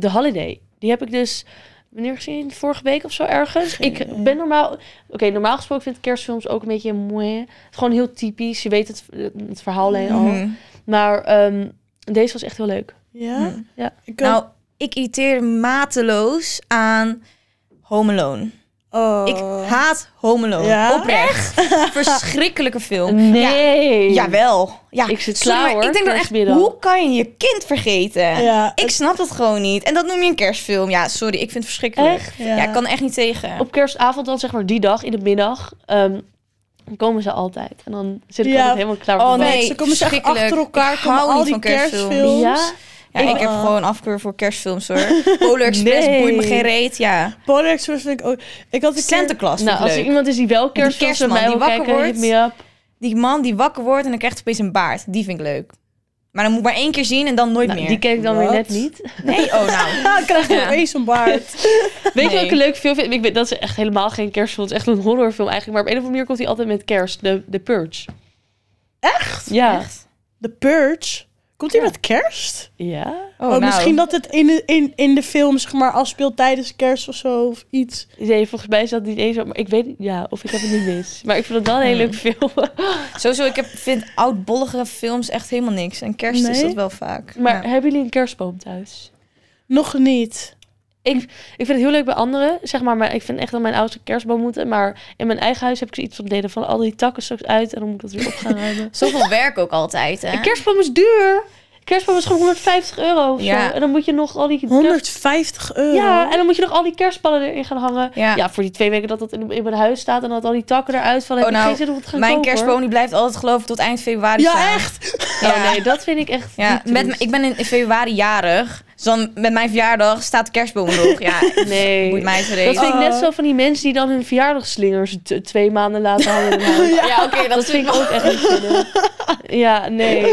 [SPEAKER 1] The Holiday. Die heb ik dus wanneer gezien? Vorige week of zo ergens.
[SPEAKER 3] Geen idee.
[SPEAKER 1] ik ben normaal... Oké, normaal gesproken vind ik kerstfilms ook een beetje mooi. Het is gewoon heel typisch. Je weet het, het verhaal alleen
[SPEAKER 3] Oh.
[SPEAKER 1] al.
[SPEAKER 2] Mhm.
[SPEAKER 1] Maar ehm, deze was echt heel leuk.
[SPEAKER 3] Ja?
[SPEAKER 1] Ja.
[SPEAKER 3] Ik kan-
[SPEAKER 2] Nou, ik irriteer mateloos aan Home Alone.
[SPEAKER 3] Oh.
[SPEAKER 2] Ik haat Home Alone.
[SPEAKER 3] Ja?
[SPEAKER 2] Oprecht. Verschrikkelijke film.
[SPEAKER 1] Nee.
[SPEAKER 2] Oh. Ja, jawel. Ja,
[SPEAKER 1] Ik zit
[SPEAKER 2] sorry,
[SPEAKER 1] klaar,
[SPEAKER 2] maar
[SPEAKER 1] hoor,
[SPEAKER 2] Ik denk dan echt,
[SPEAKER 1] kerstmiddag.
[SPEAKER 2] hoe kan je je kind vergeten?
[SPEAKER 3] Ja,
[SPEAKER 2] Ik
[SPEAKER 3] het-
[SPEAKER 2] snap dat gewoon niet. En dat noem je een kerstfilm. Ja, sorry, ik vind het verschrikkelijk.
[SPEAKER 1] Echt?
[SPEAKER 2] Ja,
[SPEAKER 3] Ja.
[SPEAKER 2] ik kan er echt niet tegen.
[SPEAKER 1] Op kerstavond dan, zeg maar die dag, in de middag, ehm, dan komen ze altijd. En dan zit ik
[SPEAKER 3] Ja.
[SPEAKER 1] altijd helemaal klaar
[SPEAKER 2] Oh,
[SPEAKER 1] voor mijn-
[SPEAKER 2] nee,
[SPEAKER 3] ze komen ze echt
[SPEAKER 2] verschrikkelijk.
[SPEAKER 3] achter elkaar.
[SPEAKER 2] Ik
[SPEAKER 3] komen
[SPEAKER 2] hou
[SPEAKER 3] al
[SPEAKER 2] niet
[SPEAKER 3] die
[SPEAKER 2] van kerstfilms.
[SPEAKER 3] kerstfilms.
[SPEAKER 1] Ja?
[SPEAKER 2] Ja, ik heb
[SPEAKER 3] Oh.
[SPEAKER 2] gewoon afkeur voor kerstfilms hoor. Polar Express
[SPEAKER 1] Nee.
[SPEAKER 2] boeit me geen reet. Ja.
[SPEAKER 3] Polar Express vind ik ook... Ik had een
[SPEAKER 2] Santa
[SPEAKER 3] keer...
[SPEAKER 2] Claus vind
[SPEAKER 1] Nou,
[SPEAKER 2] ik
[SPEAKER 1] als er
[SPEAKER 2] leuk.
[SPEAKER 1] iemand is die wel
[SPEAKER 2] die
[SPEAKER 1] kerstfilms met mij wil
[SPEAKER 2] kerstman die wakker
[SPEAKER 1] kijken, hit
[SPEAKER 2] wordt.
[SPEAKER 1] me up.
[SPEAKER 2] Die man die wakker wordt en dan krijgt hij opeens een baard. Die vind ik leuk. Maar dan moet ik maar één keer zien en dan nooit
[SPEAKER 1] Nou,
[SPEAKER 2] meer.
[SPEAKER 1] die ken ik dan weer
[SPEAKER 3] Wat?
[SPEAKER 1] net niet.
[SPEAKER 2] Nee, oh nou.
[SPEAKER 3] Ja, ik krijg
[SPEAKER 2] Ja.
[SPEAKER 3] opeens een baard.
[SPEAKER 1] Weet je wat ik een leuk film vind? Ik weet, dat is echt helemaal geen kerstfilm. Het is echt een horrorfilm eigenlijk. Maar op een of andere manier komt hij altijd met kerst. De, de Purge. Echt? Ja.
[SPEAKER 2] Echt?
[SPEAKER 3] The Purge. Komt die met kerst?
[SPEAKER 1] Ja?
[SPEAKER 2] Oh,
[SPEAKER 3] Oh,
[SPEAKER 2] nou.
[SPEAKER 3] misschien dat het in de, in, in de film zeg maar afspeelt tijdens kerst of zo of iets.
[SPEAKER 1] Nee, volgens mij is dat niet eens zo. Maar ik weet niet, ja, of ik heb het niet mis. Maar ik vind het wel een hele leuke film.
[SPEAKER 2] Sowieso, ik heb, vind oudbollige films echt helemaal niks. En kerst is
[SPEAKER 3] Nee?
[SPEAKER 2] dat wel vaak.
[SPEAKER 1] Maar
[SPEAKER 2] Ja.
[SPEAKER 1] hebben jullie een kerstboom thuis?
[SPEAKER 3] Nog niet.
[SPEAKER 1] Ik vind het heel leuk bij anderen, zeg maar. Maar ik vind echt dat mijn ouders een kerstboom moeten. Maar in mijn eigen huis heb ik zoiets van deden van al die takken straks uit. En dan moet ik dat weer op gaan ruimen.
[SPEAKER 2] Zoveel werk ook altijd, hè?
[SPEAKER 1] Een kerstboom is duur. Een kerstboom is gewoon 150 euro of
[SPEAKER 2] Ja.
[SPEAKER 1] zo. En dan moet je nog al die... kerst-
[SPEAKER 3] 150 euro.
[SPEAKER 1] Ja, en dan moet je nog al die kerstballen erin gaan hangen. Ja,
[SPEAKER 2] Ja.
[SPEAKER 1] voor die twee weken dat dat in, in mijn huis staat en dat al die takken eruit vallen.
[SPEAKER 2] Oh,
[SPEAKER 1] heb ik
[SPEAKER 2] nou,
[SPEAKER 1] geen zin om het te gaan
[SPEAKER 2] Mijn
[SPEAKER 1] kopen, hoor.
[SPEAKER 2] kerstboom die blijft altijd geloof ik tot eind februari
[SPEAKER 3] Ja,
[SPEAKER 2] staan.
[SPEAKER 3] echt.
[SPEAKER 2] Ja.
[SPEAKER 1] Oh nee, dat vind ik echt
[SPEAKER 2] Ja,
[SPEAKER 1] niet
[SPEAKER 2] met,
[SPEAKER 1] triest.
[SPEAKER 2] m- ik ben in in februari jarig. Dus dan met mijn verjaardag staat de kerstboom nog. Ja,
[SPEAKER 1] Nee.
[SPEAKER 2] moet mij
[SPEAKER 1] Dat
[SPEAKER 2] verreden.
[SPEAKER 1] vind
[SPEAKER 3] Oh.
[SPEAKER 1] ik net zo van die mensen die dan hun verjaardagsslingers t- twee maanden laten hangen. in hun huis.
[SPEAKER 2] Oh. Ja, oké, dat,
[SPEAKER 1] Dat vind ik ook echt niet kunnen. Ja, nee.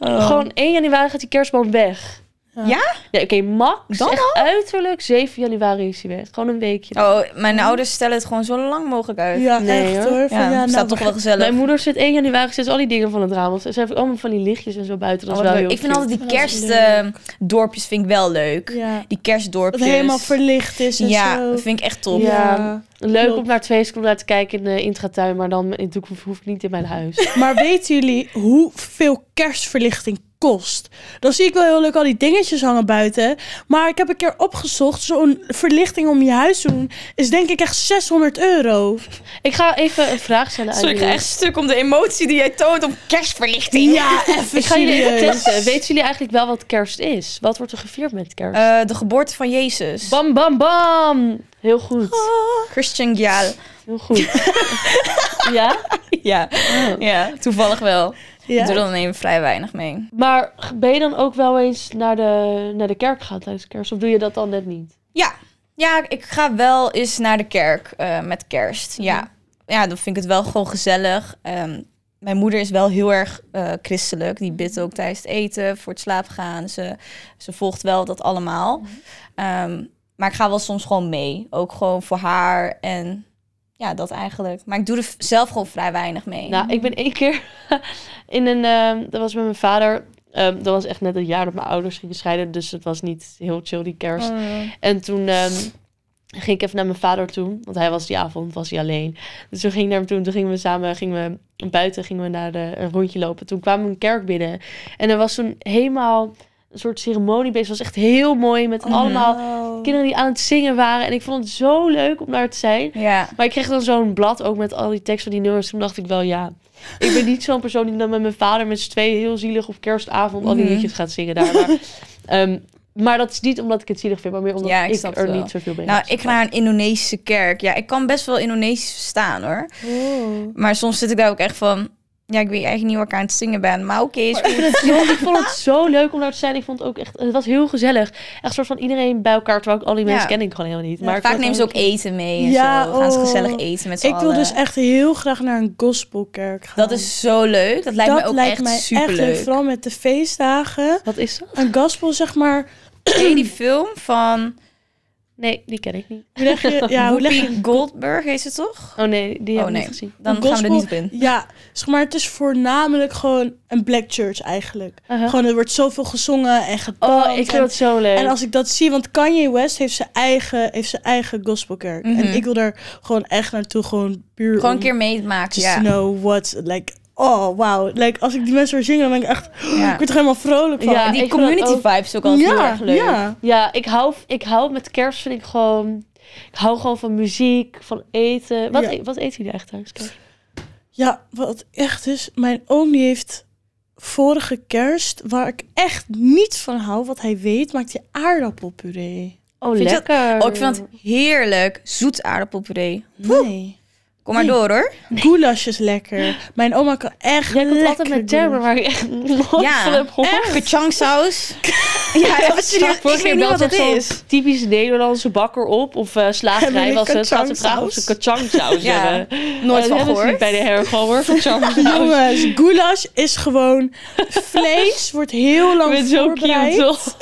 [SPEAKER 1] Gewoon 1 januari gaat die kerstboom weg.
[SPEAKER 2] Oh. Ja?
[SPEAKER 1] Ja, oké, max.
[SPEAKER 2] Dan
[SPEAKER 1] echt uiterlijk 7 januari is hij weg. Gewoon een weekje.
[SPEAKER 2] Oh, mijn ouders stellen het gewoon zo lang mogelijk uit.
[SPEAKER 3] Ja,
[SPEAKER 1] Nee,
[SPEAKER 3] echt
[SPEAKER 1] hoor.
[SPEAKER 3] hoor. Van, ja, nou,
[SPEAKER 2] staat toch
[SPEAKER 3] we-
[SPEAKER 2] wel gezellig.
[SPEAKER 1] Mijn moeder zit 1 januari, zit al die dingen van het raam. af. Ze heeft ook allemaal van die lichtjes en zo buiten. Dat
[SPEAKER 2] Oh,
[SPEAKER 1] is
[SPEAKER 2] wat
[SPEAKER 1] wel
[SPEAKER 2] leuk.
[SPEAKER 1] heel
[SPEAKER 2] Ik vind
[SPEAKER 1] cute.
[SPEAKER 2] altijd die
[SPEAKER 3] Dat is
[SPEAKER 2] kerstdorpjes vind ik wel leuk.
[SPEAKER 3] Ja.
[SPEAKER 2] Die kerstdorpjes.
[SPEAKER 3] Dat het helemaal verlicht is en
[SPEAKER 2] Ja,
[SPEAKER 3] zo.
[SPEAKER 2] dat vind ik echt top.
[SPEAKER 1] Ja. Leuk
[SPEAKER 3] Klopt.
[SPEAKER 1] om naar het feest te kijken in de Intratuin, maar dan in de hoef, hoef ik niet in mijn huis.
[SPEAKER 3] Maar weten jullie hoeveel kerstverlichting kost? Dan zie ik wel heel leuk al die dingetjes hangen buiten. Maar ik heb een keer opgezocht. Zo'n verlichting om je huis te doen is denk ik echt 600 euro.
[SPEAKER 1] Ik ga even een vraag stellen aan
[SPEAKER 2] Sorry, ik ga
[SPEAKER 1] jullie.
[SPEAKER 2] echt stuk om de emotie die jij toont om kerstverlichting.
[SPEAKER 3] Ja, even
[SPEAKER 1] Ik ga jullie even
[SPEAKER 3] serieus.
[SPEAKER 1] testen. Weten jullie eigenlijk wel wat kerst is? Wat wordt er gevierd met kerst?
[SPEAKER 2] Eh, de geboorte van Jezus.
[SPEAKER 1] bam, bam, bam! Heel goed.
[SPEAKER 2] Ah. Christian Gial.
[SPEAKER 1] Heel goed. ja?
[SPEAKER 2] Ja. ja, toevallig wel.
[SPEAKER 3] Ja.
[SPEAKER 2] Ik doe er dan even vrij weinig mee.
[SPEAKER 1] Maar ben je dan ook wel eens naar de, naar de kerk gegaan tijdens kerst? Of doe je dat dan net niet?
[SPEAKER 2] Ja. ja, ik ga wel eens naar de kerk eh, met kerst. Ja. ja, dan vind ik het wel gewoon gezellig. Ehm, mijn moeder is wel heel erg eh, christelijk. Die bidt ook tijdens het eten, voor het slaapgaan. Ze, ze volgt wel dat allemaal. Ehm, maar ik ga wel soms gewoon mee. Ook gewoon voor haar en ja, dat eigenlijk. Maar ik doe er v- zelf gewoon vrij weinig mee.
[SPEAKER 1] Nou, ik ben één keer in een... ehm, dat was met mijn vader. Ehm, dat was echt net een jaar dat mijn ouders gingen scheiden. Dus het was niet heel chill die kerst. En toen ehm, ging ik even naar mijn vader toe. Want hij was die avond was hij alleen. Dus toen ging ik naar hem toe. en Toen gingen we samen gingen we buiten gingen we naar de, een rondje lopen. Toen kwamen we een kerk binnen. En er was toen helemaal een soort ceremonie bezig. Het was echt heel mooi. Met allemaal
[SPEAKER 2] Oh.
[SPEAKER 1] kinderen die aan het zingen waren. En ik vond het zo leuk om daar te zijn.
[SPEAKER 2] Ja.
[SPEAKER 1] Maar ik kreeg dan zo'n blad ook met al die teksten van die nummers. Toen dacht ik wel, ja, ik ben niet zo'n persoon die dan met mijn vader met z'n tweeën heel zielig op kerstavond al die
[SPEAKER 2] Mhm.
[SPEAKER 1] liedjes gaat zingen daar. Maar, ehm, maar dat is niet omdat ik het zielig vind, maar meer omdat
[SPEAKER 2] Ja, ik
[SPEAKER 1] ik,
[SPEAKER 2] snap het
[SPEAKER 1] er
[SPEAKER 2] wel.
[SPEAKER 1] niet zoveel mee
[SPEAKER 2] Nou,
[SPEAKER 1] heb.
[SPEAKER 2] ik ga naar een Indonesische kerk. Ja, ik kan best wel Indonesisch verstaan hoor.
[SPEAKER 3] Oh.
[SPEAKER 2] Maar soms zit ik daar ook echt van... Ja, ik weet eigenlijk niet waar ik aan het zingen ben. Maar oké, is goed.
[SPEAKER 1] Ik vond het zo leuk om daar te zijn. Ik vond het ook echt, het was heel gezellig. Echt een soort van iedereen bij elkaar, terwijl ik al die mensen
[SPEAKER 2] Ja.
[SPEAKER 1] ken ik gewoon helemaal niet. Maar ik
[SPEAKER 2] Vaak
[SPEAKER 1] vond
[SPEAKER 2] nemen
[SPEAKER 1] het
[SPEAKER 2] ze ook
[SPEAKER 1] wel-
[SPEAKER 2] eten mee en
[SPEAKER 3] Ja,
[SPEAKER 2] zo. Gaan ze
[SPEAKER 3] oh.
[SPEAKER 2] gezellig eten met z'n
[SPEAKER 3] Ik wil
[SPEAKER 2] allen.
[SPEAKER 3] dus echt heel graag naar een gospelkerk gaan.
[SPEAKER 2] Dat is zo leuk. Dat lijkt
[SPEAKER 3] dat
[SPEAKER 2] me ook
[SPEAKER 3] lijkt
[SPEAKER 2] echt
[SPEAKER 3] mij
[SPEAKER 2] superleuk.
[SPEAKER 3] leuk. Vooral met de feestdagen.
[SPEAKER 1] Wat is dat?
[SPEAKER 3] Een gospel zeg maar...
[SPEAKER 2] Ken je die film van
[SPEAKER 1] Nee, die ken ik niet.
[SPEAKER 3] Hoe leg je, ja, hoe leg je
[SPEAKER 2] Whoopi Goldberg, heet ze toch?
[SPEAKER 1] Oh nee, die
[SPEAKER 2] Oh,
[SPEAKER 1] heb ik
[SPEAKER 2] nee.
[SPEAKER 1] niet gezien.
[SPEAKER 2] Dan
[SPEAKER 3] Een
[SPEAKER 2] gaan we er niet op
[SPEAKER 3] gospel-
[SPEAKER 2] in.
[SPEAKER 3] Ja, zeg maar, het is voornamelijk gewoon een black church eigenlijk.
[SPEAKER 1] Uh-huh.
[SPEAKER 3] Gewoon, er wordt zoveel gezongen en
[SPEAKER 1] Oh,
[SPEAKER 3] gedanst.
[SPEAKER 1] ik vind
[SPEAKER 3] en,
[SPEAKER 1] het zo leuk.
[SPEAKER 3] en als ik dat zie, want Kanye West heeft zijn eigen, heeft zijn eigen gospelkerk.
[SPEAKER 2] Mhm.
[SPEAKER 3] En ik wil daar gewoon echt naartoe, gewoon puur
[SPEAKER 2] Gewoon
[SPEAKER 3] om
[SPEAKER 2] een keer meemaken.
[SPEAKER 3] just
[SPEAKER 2] Ja.
[SPEAKER 3] to know what, like, oh wow. Like, als ik die mensen hoor zingen, dan ben ik echt,
[SPEAKER 2] Ja.
[SPEAKER 3] ik word er helemaal vrolijk van.
[SPEAKER 1] Ja,
[SPEAKER 2] En
[SPEAKER 1] ik
[SPEAKER 2] die
[SPEAKER 1] vind dat
[SPEAKER 2] community
[SPEAKER 1] ook-
[SPEAKER 2] vibes ook altijd heel
[SPEAKER 3] ja,
[SPEAKER 2] erg leuk.
[SPEAKER 3] ja.
[SPEAKER 1] Ja, ik hou, ik hou met kerst vind ik gewoon... Ik hou gewoon van muziek, van eten. Wat,
[SPEAKER 3] Ja.
[SPEAKER 1] e- wat eet jullie echt thuis? Kerst?
[SPEAKER 3] Ja, wat echt is, mijn oom die heeft vorige kerst, waar ik echt niet van hou, wat hij weet, maakt hij aardappelpuree.
[SPEAKER 1] Oh,
[SPEAKER 2] Vind je dat-
[SPEAKER 1] lekker.
[SPEAKER 2] Oh, ik vind het heerlijk. Zoet aardappelpuree.
[SPEAKER 3] Nee.
[SPEAKER 2] Kom maar
[SPEAKER 3] Nee.
[SPEAKER 2] door hoor.
[SPEAKER 3] Goulash is lekker. Mijn oma kan echt
[SPEAKER 1] Jij komt
[SPEAKER 3] lekker
[SPEAKER 1] altijd met termen
[SPEAKER 3] goulash.
[SPEAKER 1] waar ik echt nooit
[SPEAKER 2] Ja,
[SPEAKER 1] van heb gehoord.
[SPEAKER 2] Gechangsaus. ja, dat is serieus. Ik
[SPEAKER 1] Vorige
[SPEAKER 2] weet
[SPEAKER 1] keer
[SPEAKER 2] niet
[SPEAKER 1] belt
[SPEAKER 2] wat het
[SPEAKER 1] echt zo'n
[SPEAKER 2] is.
[SPEAKER 1] typisch Nederlandse bakker op. Of eh
[SPEAKER 3] Hebben
[SPEAKER 1] slagerij
[SPEAKER 3] jullie
[SPEAKER 1] was het. Gaat ze
[SPEAKER 3] kachangsaus?
[SPEAKER 1] vragen of ze kachangsaus
[SPEAKER 2] Ja,
[SPEAKER 1] hebben.
[SPEAKER 2] Nooit
[SPEAKER 1] Eh,
[SPEAKER 2] van
[SPEAKER 1] hebben ze niet
[SPEAKER 2] gehoord.
[SPEAKER 1] bij de hergomer kachangsaus.
[SPEAKER 3] Jongens, goulash is gewoon vlees, wordt heel
[SPEAKER 1] Ik
[SPEAKER 3] lang
[SPEAKER 1] ben zo cute,
[SPEAKER 3] voorbereid.
[SPEAKER 1] toch?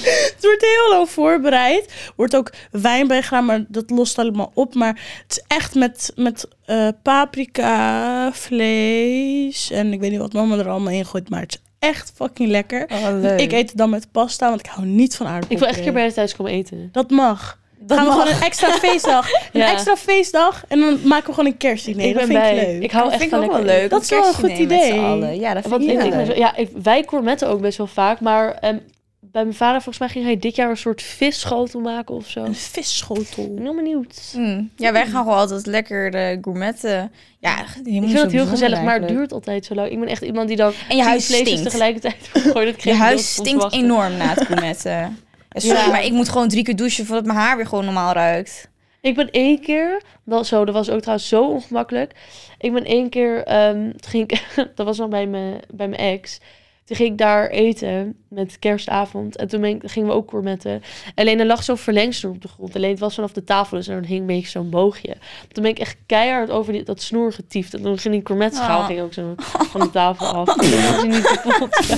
[SPEAKER 3] Het wordt heel lang voorbereid. Wordt ook wijn bijgedaan, maar dat lost allemaal op. Maar het is echt met, met eh, paprika, vlees en ik weet niet wat mama er allemaal in gooit. Maar het is echt fucking lekker. Ik eet het dan met pasta, want ik hou niet van aardappelen.
[SPEAKER 1] Ik wil echt een keer bij je thuis komen eten.
[SPEAKER 3] Dat mag. Dan gaan we
[SPEAKER 2] mag.
[SPEAKER 3] gewoon een extra feestdag. Een
[SPEAKER 1] Ja.
[SPEAKER 3] extra feestdag en dan maken we gewoon een kerstdiner.
[SPEAKER 1] ik
[SPEAKER 3] dat
[SPEAKER 1] ben
[SPEAKER 3] vind
[SPEAKER 1] bij.
[SPEAKER 3] ik leuk.
[SPEAKER 1] Ik hou
[SPEAKER 2] dat
[SPEAKER 1] Oh, echt
[SPEAKER 2] vind ik
[SPEAKER 1] van
[SPEAKER 2] ook wel
[SPEAKER 1] lekker
[SPEAKER 2] leuk.
[SPEAKER 3] Dat is wel een goed
[SPEAKER 2] kerstdiner met z'n
[SPEAKER 3] idee.
[SPEAKER 2] allen. Ja, dat
[SPEAKER 1] eten.
[SPEAKER 2] vind
[SPEAKER 1] Want
[SPEAKER 2] ik
[SPEAKER 1] ik, ik,
[SPEAKER 2] heel
[SPEAKER 1] ben
[SPEAKER 2] leuk.
[SPEAKER 1] zo- ja, ik, wij gourmetten ook best wel vaak. Maar ehm, bij mijn vader, volgens mij, ging hij dit jaar een soort visschotel maken of zo.
[SPEAKER 3] Een
[SPEAKER 1] Ik ben
[SPEAKER 3] visschotel.
[SPEAKER 1] heel benieuwd.
[SPEAKER 2] Mm. Ja, wij gaan gewoon altijd lekker de gourmetten. Ja,
[SPEAKER 1] Ik vind het heel gezellig, maar het duurt altijd zo lang. Ik ben echt iemand die dan
[SPEAKER 2] En je huis
[SPEAKER 1] vleesjes
[SPEAKER 2] stinkt.
[SPEAKER 1] tegelijkertijd gooit. Dat
[SPEAKER 2] Je
[SPEAKER 1] kreeg ik heel
[SPEAKER 2] huis stinkt
[SPEAKER 1] onverwacht.
[SPEAKER 2] enorm na het gourmetten. Ja, sorry,
[SPEAKER 1] Ja.
[SPEAKER 2] maar ik moet gewoon drie keer douchen voordat mijn haar weer gewoon normaal
[SPEAKER 1] Dus
[SPEAKER 2] ruikt.
[SPEAKER 1] Ik ben één keer, dat, zo, dat was ook trouwens zo ongemakkelijk. Ik ben één keer, ehm, toen ging ik, dat was nog bij mijn, bij mijn ex. Toen ging ik daar eten met kerstavond. En toen ben ik- gingen we ook gourmetten. Alleen er lag zo'n verlengsnoer op de grond. Alleen het was vanaf de tafel, dus er hing een beetje zo'n boogje. Toen ben ik echt keihard over die, dat snoer getiefd. En toen ging die gourmetschaal
[SPEAKER 2] Ah.
[SPEAKER 1] ging ook zo van de tafel af. Dat was niet kapot. Ja.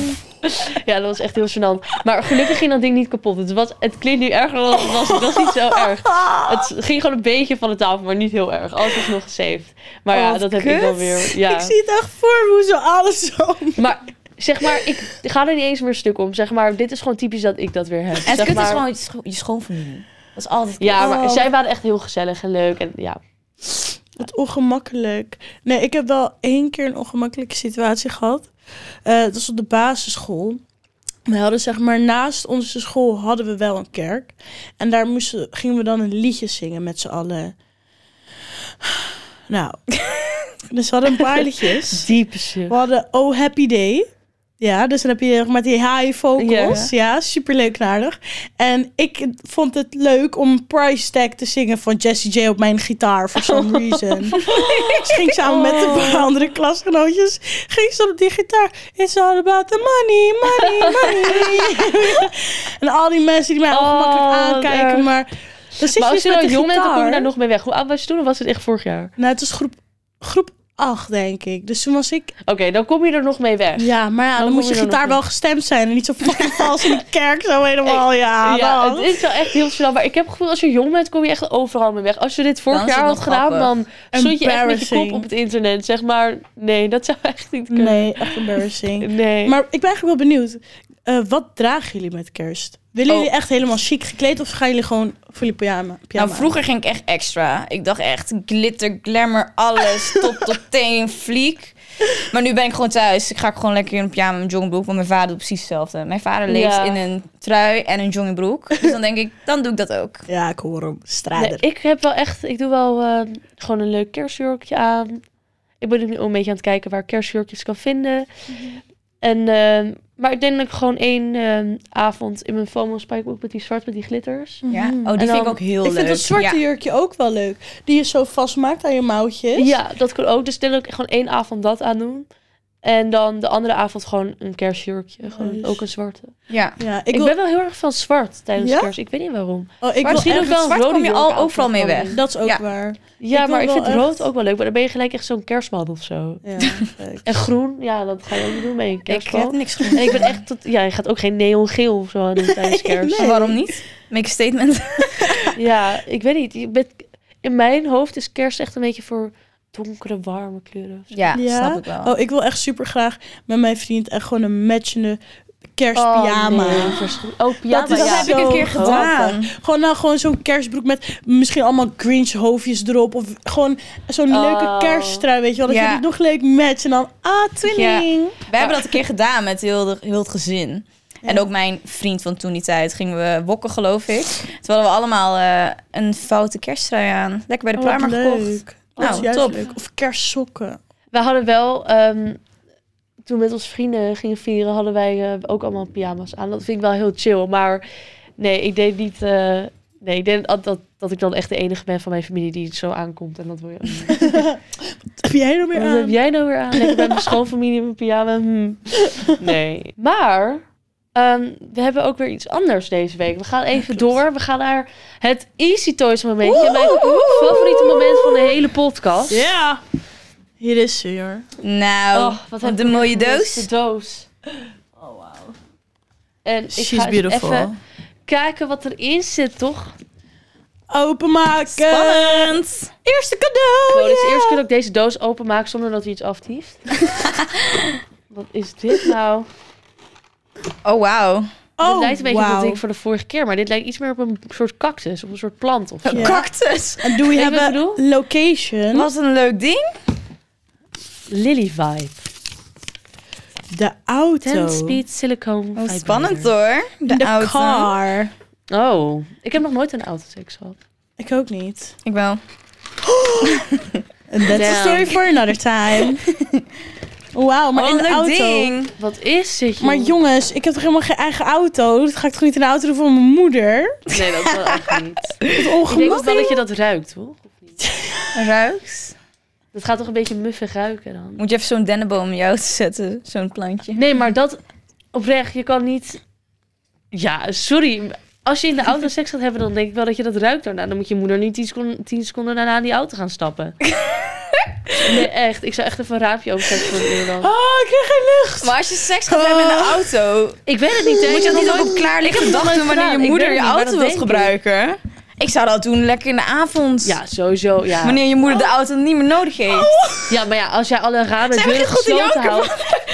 [SPEAKER 1] Ja, dat was echt heel gênant. Maar gelukkig ging dat ding niet kapot. Het, was, het klinkt nu erger dan het was. Het was niet zo erg. Het ging gewoon een beetje van de tafel, maar niet heel erg. Alles is nog gesaved. Maar
[SPEAKER 2] Oh,
[SPEAKER 1] ja,
[SPEAKER 2] wat
[SPEAKER 1] dat heb ik dan
[SPEAKER 2] kut.
[SPEAKER 1] weer. Ja.
[SPEAKER 3] Ik zie het echt voor me, hoe ze alles zo...
[SPEAKER 1] Maar zeg maar, ik ga er niet eens meer stuk om. Zeg maar, dit is gewoon typisch dat ik dat weer heb.
[SPEAKER 2] En het
[SPEAKER 1] zeg
[SPEAKER 2] kut
[SPEAKER 1] maar,
[SPEAKER 2] is gewoon je, scho- je schoonfamilie. Dat is altijd kut.
[SPEAKER 1] Ja, maar
[SPEAKER 3] Oh.
[SPEAKER 1] zij waren echt heel gezellig en leuk. En ja,
[SPEAKER 3] Wat ongemakkelijk. Nee, ik heb wel één keer een ongemakkelijke situatie gehad. Eh dat was op de basisschool. We hadden zeg maar naast onze school hadden we wel een kerk. En daar moesten, gingen we dan een liedje zingen met z'n allen. Nou, dus we hadden een paar liedjes.
[SPEAKER 1] diepe zucht.
[SPEAKER 3] We hadden Oh Happy Day. Ja, dus dan heb je met die high vocals. Ja, superleuk en aardig. En ik vond het leuk om Price Tag te zingen van Jessie J op mijn gitaar. For some reason. Dus ging ik samen met
[SPEAKER 1] Oh.
[SPEAKER 3] een paar andere klasgenootjes. Ging ze dan op die gitaar. It's all about the money, money, money. en al die mensen die mij
[SPEAKER 1] Oh,
[SPEAKER 3] ongemakkelijk
[SPEAKER 1] wat erg.
[SPEAKER 3] aankijken. Maar dan zit
[SPEAKER 1] Maar
[SPEAKER 3] je dus
[SPEAKER 1] als je
[SPEAKER 3] met
[SPEAKER 1] nou
[SPEAKER 3] de
[SPEAKER 1] jong bent, dan kom je
[SPEAKER 3] gitaar.
[SPEAKER 1] daar nog mee weg. Hoe oud was je toen? Of was het echt vorig jaar?
[SPEAKER 3] Nou, het was groep, groep 8, denk ik. Dus toen was ik
[SPEAKER 1] Oké, dan kom je er nog mee weg.
[SPEAKER 3] Ja, maar ja, dan,
[SPEAKER 1] Dan
[SPEAKER 3] moet je
[SPEAKER 1] kom je er nog
[SPEAKER 3] gitaar wel gestemd zijn en niet zo fucking vals in de kerk zo helemaal. Ja,
[SPEAKER 1] Ja,
[SPEAKER 3] dan.
[SPEAKER 1] het is wel echt heel snel. Maar ik heb het gevoel, als je jong bent, kom je echt overal mee weg. Als je dit
[SPEAKER 2] Dan
[SPEAKER 1] vorig
[SPEAKER 2] is het
[SPEAKER 1] jaar had
[SPEAKER 2] nog
[SPEAKER 1] gedaan, dan
[SPEAKER 2] grappig.
[SPEAKER 1] stond je echt met je kop
[SPEAKER 3] Embarrassing.
[SPEAKER 1] op het internet. Zeg maar, nee, dat zou echt niet kunnen.
[SPEAKER 3] Nee, echt embarrassing.
[SPEAKER 1] Nee.
[SPEAKER 3] Maar ik ben eigenlijk wel benieuwd. eh, wat dragen jullie met kerst? Willen
[SPEAKER 2] Oh.
[SPEAKER 3] jullie echt helemaal chic gekleed of gaan jullie gewoon voor je pyjama? pyjama?
[SPEAKER 2] Nou, vroeger ging ik echt extra. Ik dacht echt glitter, glamour, alles, top tot teen, fliek. Maar nu ben ik gewoon thuis. Ik ga gewoon lekker in een pyjama en een jongbroek, want mijn vader doet precies hetzelfde. Mijn vader leeft
[SPEAKER 1] Ja.
[SPEAKER 2] in een trui en een jongbroek. Dus dan denk ik, dan doe ik dat ook.
[SPEAKER 3] Ja, ik hoor hem.
[SPEAKER 1] Nee,
[SPEAKER 3] Strader.
[SPEAKER 1] ik heb wel echt, ik doe wel eh, gewoon een leuk kerstjurkje aan. Ik ben nu ook een beetje aan het kijken waar ik kerstjurkjes kan vinden.
[SPEAKER 3] Mhm.
[SPEAKER 1] En, eh, maar ik denk dat ik gewoon één eh, avond in mijn FOMO spijkerbroek met die zwart met die glitters.
[SPEAKER 2] Ja? Oh, die
[SPEAKER 1] En
[SPEAKER 2] vind ik
[SPEAKER 1] dan-
[SPEAKER 2] ook heel
[SPEAKER 3] Mhm. ik
[SPEAKER 2] leuk.
[SPEAKER 3] vind dat zwarte
[SPEAKER 2] Ja.
[SPEAKER 3] jurkje ook wel leuk. Die je zo vastmaakt aan je mouwtjes.
[SPEAKER 1] Ja, dat kan ook. Dus ik denk dat ik gewoon één avond dat aan doen. En dan de andere avond gewoon een kerstjurkje. Gewoon
[SPEAKER 3] Nice.
[SPEAKER 1] ook een zwarte.
[SPEAKER 2] Ja.
[SPEAKER 3] Ja, ik,
[SPEAKER 1] Ik,
[SPEAKER 3] wil,
[SPEAKER 1] ben wel heel erg van zwart tijdens
[SPEAKER 3] Ja?
[SPEAKER 1] kerst. Ik weet niet waarom.
[SPEAKER 3] oh, ik
[SPEAKER 2] Maar
[SPEAKER 3] wil
[SPEAKER 1] misschien ook
[SPEAKER 3] echt,
[SPEAKER 1] wel een
[SPEAKER 2] zwart
[SPEAKER 1] rode
[SPEAKER 2] kom je al
[SPEAKER 1] jurk aan
[SPEAKER 2] overal mee
[SPEAKER 1] komen.
[SPEAKER 2] weg.
[SPEAKER 3] dat is ook
[SPEAKER 2] Ja,
[SPEAKER 3] waar.
[SPEAKER 1] Ja,
[SPEAKER 3] wil
[SPEAKER 1] maar ik
[SPEAKER 3] wel
[SPEAKER 1] vind
[SPEAKER 3] echt-
[SPEAKER 1] rood ook wel leuk. Maar dan ben je gelijk echt zo'n kerstman of zo.
[SPEAKER 3] Ja, leuk.
[SPEAKER 1] En groen, ja, dat ga je ook niet doen bij een
[SPEAKER 2] Ik heb
[SPEAKER 1] kerstman.
[SPEAKER 2] niks
[SPEAKER 1] En ik ben echt tot, ja, je gaat ook geen neongeel of zo aan doen tijdens kerst.
[SPEAKER 2] Maar Waarom niet? Make a statement.
[SPEAKER 1] Ja, ik weet niet. Je bent, in mijn hoofd is kerst echt een beetje voor donkere, warme kleuren.
[SPEAKER 2] Ja,
[SPEAKER 3] Ja?
[SPEAKER 2] snap ik wel.
[SPEAKER 3] Oh, ik wil echt super graag met mijn vriend echt gewoon een matchende kerstpyjama.
[SPEAKER 1] Oh, nee, verschri- oh pyjama,
[SPEAKER 3] Dat is-
[SPEAKER 2] dat
[SPEAKER 1] ja.
[SPEAKER 2] heb ik een
[SPEAKER 3] zo
[SPEAKER 2] keer gedaan.
[SPEAKER 3] Gewoon nou gewoon zo'n kerstbroek met misschien allemaal Grinch hoofdjes erop. Of gewoon zo'n
[SPEAKER 1] Oh.
[SPEAKER 3] leuke kersttrui, weet je wel. Dat
[SPEAKER 2] Ja.
[SPEAKER 3] je dit nog leuk matcht. En dan, ah, twinning.
[SPEAKER 2] Wij hebben dat een keer gedaan met heel, de, heel het gezin. En ook mijn vriend van toen die tijd gingen we wokken, geloof ik. Toen hadden we allemaal eh, een foute kersttrui aan. Lekker bij de
[SPEAKER 3] Oh, wat
[SPEAKER 2] Primark gekocht.
[SPEAKER 3] leuk. Dat is
[SPEAKER 2] Nou,
[SPEAKER 3] juist
[SPEAKER 1] top.
[SPEAKER 3] leuk. Of kerstsokken.
[SPEAKER 1] We hadden wel, ehm, toen we met onze vrienden gingen vieren, hadden wij eh, ook allemaal pyjama's aan. Dat vind ik wel heel chill. Maar nee, ik deed niet. eh, nee, ik denk dat, dat, dat ik dan echt de enige ben van mijn familie die het zo aankomt. En dat wil je ook niet.
[SPEAKER 3] Heb jij er meer
[SPEAKER 1] Wat heb
[SPEAKER 3] aan?
[SPEAKER 1] jij nou weer aan? Lekker bij mijn schoonfamilie in mijn pyjama. hm. Nee. Maar ehm, we hebben ook weer iets anders deze week. We gaan even door. We gaan naar het Easy Toys momentje. Mijn favoriete moment van de hele podcast.
[SPEAKER 3] Ja. Hier is ze, hoor.
[SPEAKER 2] Nou,
[SPEAKER 1] Oh, wat
[SPEAKER 2] wat
[SPEAKER 1] heb
[SPEAKER 2] een mooie
[SPEAKER 1] De
[SPEAKER 2] doos.
[SPEAKER 1] doos.
[SPEAKER 3] Oh, wow.
[SPEAKER 1] En ik
[SPEAKER 3] She's
[SPEAKER 1] ga eens
[SPEAKER 3] beautiful.
[SPEAKER 1] even kijken wat erin zit, toch?
[SPEAKER 3] Openmaken.
[SPEAKER 2] Spannend.
[SPEAKER 3] Eerste cadeau.
[SPEAKER 1] Oh, dus
[SPEAKER 3] ja.
[SPEAKER 1] eerst kunnen ik deze doos openmaken zonder dat hij iets aftieft. wat is dit nou?
[SPEAKER 2] Oh, wauw.
[SPEAKER 1] dit lijkt een beetje op dat
[SPEAKER 3] wauw.
[SPEAKER 1] ding voor de vorige keer, maar dit lijkt iets meer op een soort cactus of een soort plant. Of zo.
[SPEAKER 2] Een
[SPEAKER 3] Ja.
[SPEAKER 2] cactus.
[SPEAKER 3] En doe je
[SPEAKER 1] Weet je wat ik
[SPEAKER 3] hebben
[SPEAKER 1] bedoel?
[SPEAKER 3] location.
[SPEAKER 2] Wat een leuk ding.
[SPEAKER 1] Lily vibe.
[SPEAKER 3] De auto.
[SPEAKER 1] 10 speed silicone.
[SPEAKER 2] Oh,
[SPEAKER 1] vibrator.
[SPEAKER 2] spannend hoor. De,
[SPEAKER 3] De
[SPEAKER 2] auto.
[SPEAKER 3] car.
[SPEAKER 1] Oh, ik heb nog nooit een autosex gehad.
[SPEAKER 3] Ik ook niet.
[SPEAKER 2] Ik wel.
[SPEAKER 3] Oh, And that's a
[SPEAKER 1] Damn.
[SPEAKER 3] story for another time. Wauw, maar
[SPEAKER 2] Wat
[SPEAKER 3] in
[SPEAKER 2] Oh,
[SPEAKER 3] de
[SPEAKER 2] een leuk
[SPEAKER 3] auto.
[SPEAKER 2] ding.
[SPEAKER 1] Wat is dit? joh?
[SPEAKER 3] Maar jongens, ik heb toch helemaal geen eigen auto? Dat ga ik toch niet in de auto doen van mijn moeder?
[SPEAKER 1] Nee, dat wel echt niet.
[SPEAKER 3] Wat
[SPEAKER 1] Ik denk ook wel dat
[SPEAKER 3] ongemakkelijk.
[SPEAKER 1] je dat ruikt, toch? Of niet?
[SPEAKER 2] Ruikt.
[SPEAKER 1] Dat gaat toch een beetje muffig ruiken dan?
[SPEAKER 2] Moet je even zo'n dennenboom in je auto zetten. Zo'n plantje.
[SPEAKER 1] Nee, maar dat oprecht, je kan niet. Ja, sorry. Als je in de auto seks gaat hebben, dan denk ik wel dat je dat ruikt daarna. Dan moet je moeder niet 10 seconden, 10 seconden daarna in die auto gaan stappen. nee, echt. Ik zou echt even een raapje overzetten voor de deur dan.
[SPEAKER 3] Oh, ik krijg geen lucht.
[SPEAKER 2] Maar als je seks gaat hebben in de auto,
[SPEAKER 1] Ik weet het niet, hè.
[SPEAKER 2] moet
[SPEAKER 1] Ik
[SPEAKER 2] je
[SPEAKER 1] heb
[SPEAKER 2] dat niet
[SPEAKER 1] nog
[SPEAKER 2] ook
[SPEAKER 1] nooit-
[SPEAKER 2] op klaarliggende
[SPEAKER 1] heb het
[SPEAKER 2] dag
[SPEAKER 1] nog
[SPEAKER 2] doen
[SPEAKER 1] nooit
[SPEAKER 2] wanneer je
[SPEAKER 1] gedaan. Ik
[SPEAKER 2] moeder
[SPEAKER 1] weet
[SPEAKER 2] je
[SPEAKER 1] niet, maar
[SPEAKER 2] auto
[SPEAKER 1] dat
[SPEAKER 2] wilt
[SPEAKER 1] denk ik.
[SPEAKER 2] gebruiken? Ik zou dat doen lekker in de avond.
[SPEAKER 1] Ja, sowieso, ja. Oh.
[SPEAKER 2] Wanneer je moeder de auto niet meer nodig heeft.
[SPEAKER 1] Ja, maar ja, als jij alle ramen en
[SPEAKER 2] Zij
[SPEAKER 1] deuren
[SPEAKER 2] begint goed te
[SPEAKER 1] gesloten
[SPEAKER 2] janken,
[SPEAKER 1] houdt...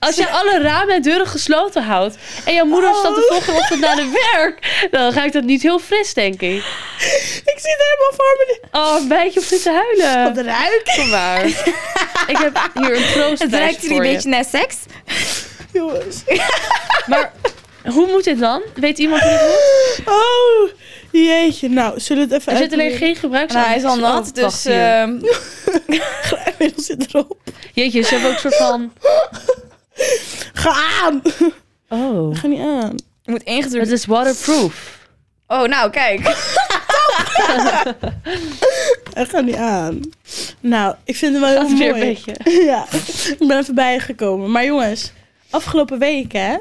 [SPEAKER 1] Als jij alle ramen en deuren gesloten houdt... en jouw moeder stapt de volgende ochtend naar de werk... dan ruikt dat niet heel fris, denk ik.
[SPEAKER 3] Ik zit helemaal voor me.
[SPEAKER 1] Oh, een beetje op te huilen.
[SPEAKER 3] Wat ruikt.
[SPEAKER 1] Kom maar. ik heb hier een troost
[SPEAKER 2] Het ruikt hier een beetje naar seks.
[SPEAKER 3] Jongens.
[SPEAKER 1] Maar hoe moet dit dan? Weet iemand hoe dit moet?
[SPEAKER 3] Oh, jeetje. Nou, zullen we het even
[SPEAKER 1] Er zit alleen
[SPEAKER 3] uitproberen?
[SPEAKER 1] geen gebruiksaanwijzing.
[SPEAKER 2] Nou, hij is al nat,
[SPEAKER 1] Oh, wacht
[SPEAKER 2] dus
[SPEAKER 1] hier.
[SPEAKER 2] ehm,
[SPEAKER 3] Inmiddels zit erop.
[SPEAKER 1] Jeetje, ze hebben ook een soort van...
[SPEAKER 3] Ga aan.
[SPEAKER 1] Oh,
[SPEAKER 3] Ga niet aan.
[SPEAKER 2] je moet ingedrukt
[SPEAKER 1] het is waterproof.
[SPEAKER 2] Oh, nou, kijk.
[SPEAKER 3] Hij gaat niet aan. Nou, ik vind het wel
[SPEAKER 1] Dat
[SPEAKER 3] heel
[SPEAKER 1] is weer
[SPEAKER 3] mooi.
[SPEAKER 1] een beetje...
[SPEAKER 3] Ja, ik ben even bijgekomen. Maar jongens, afgelopen week hè?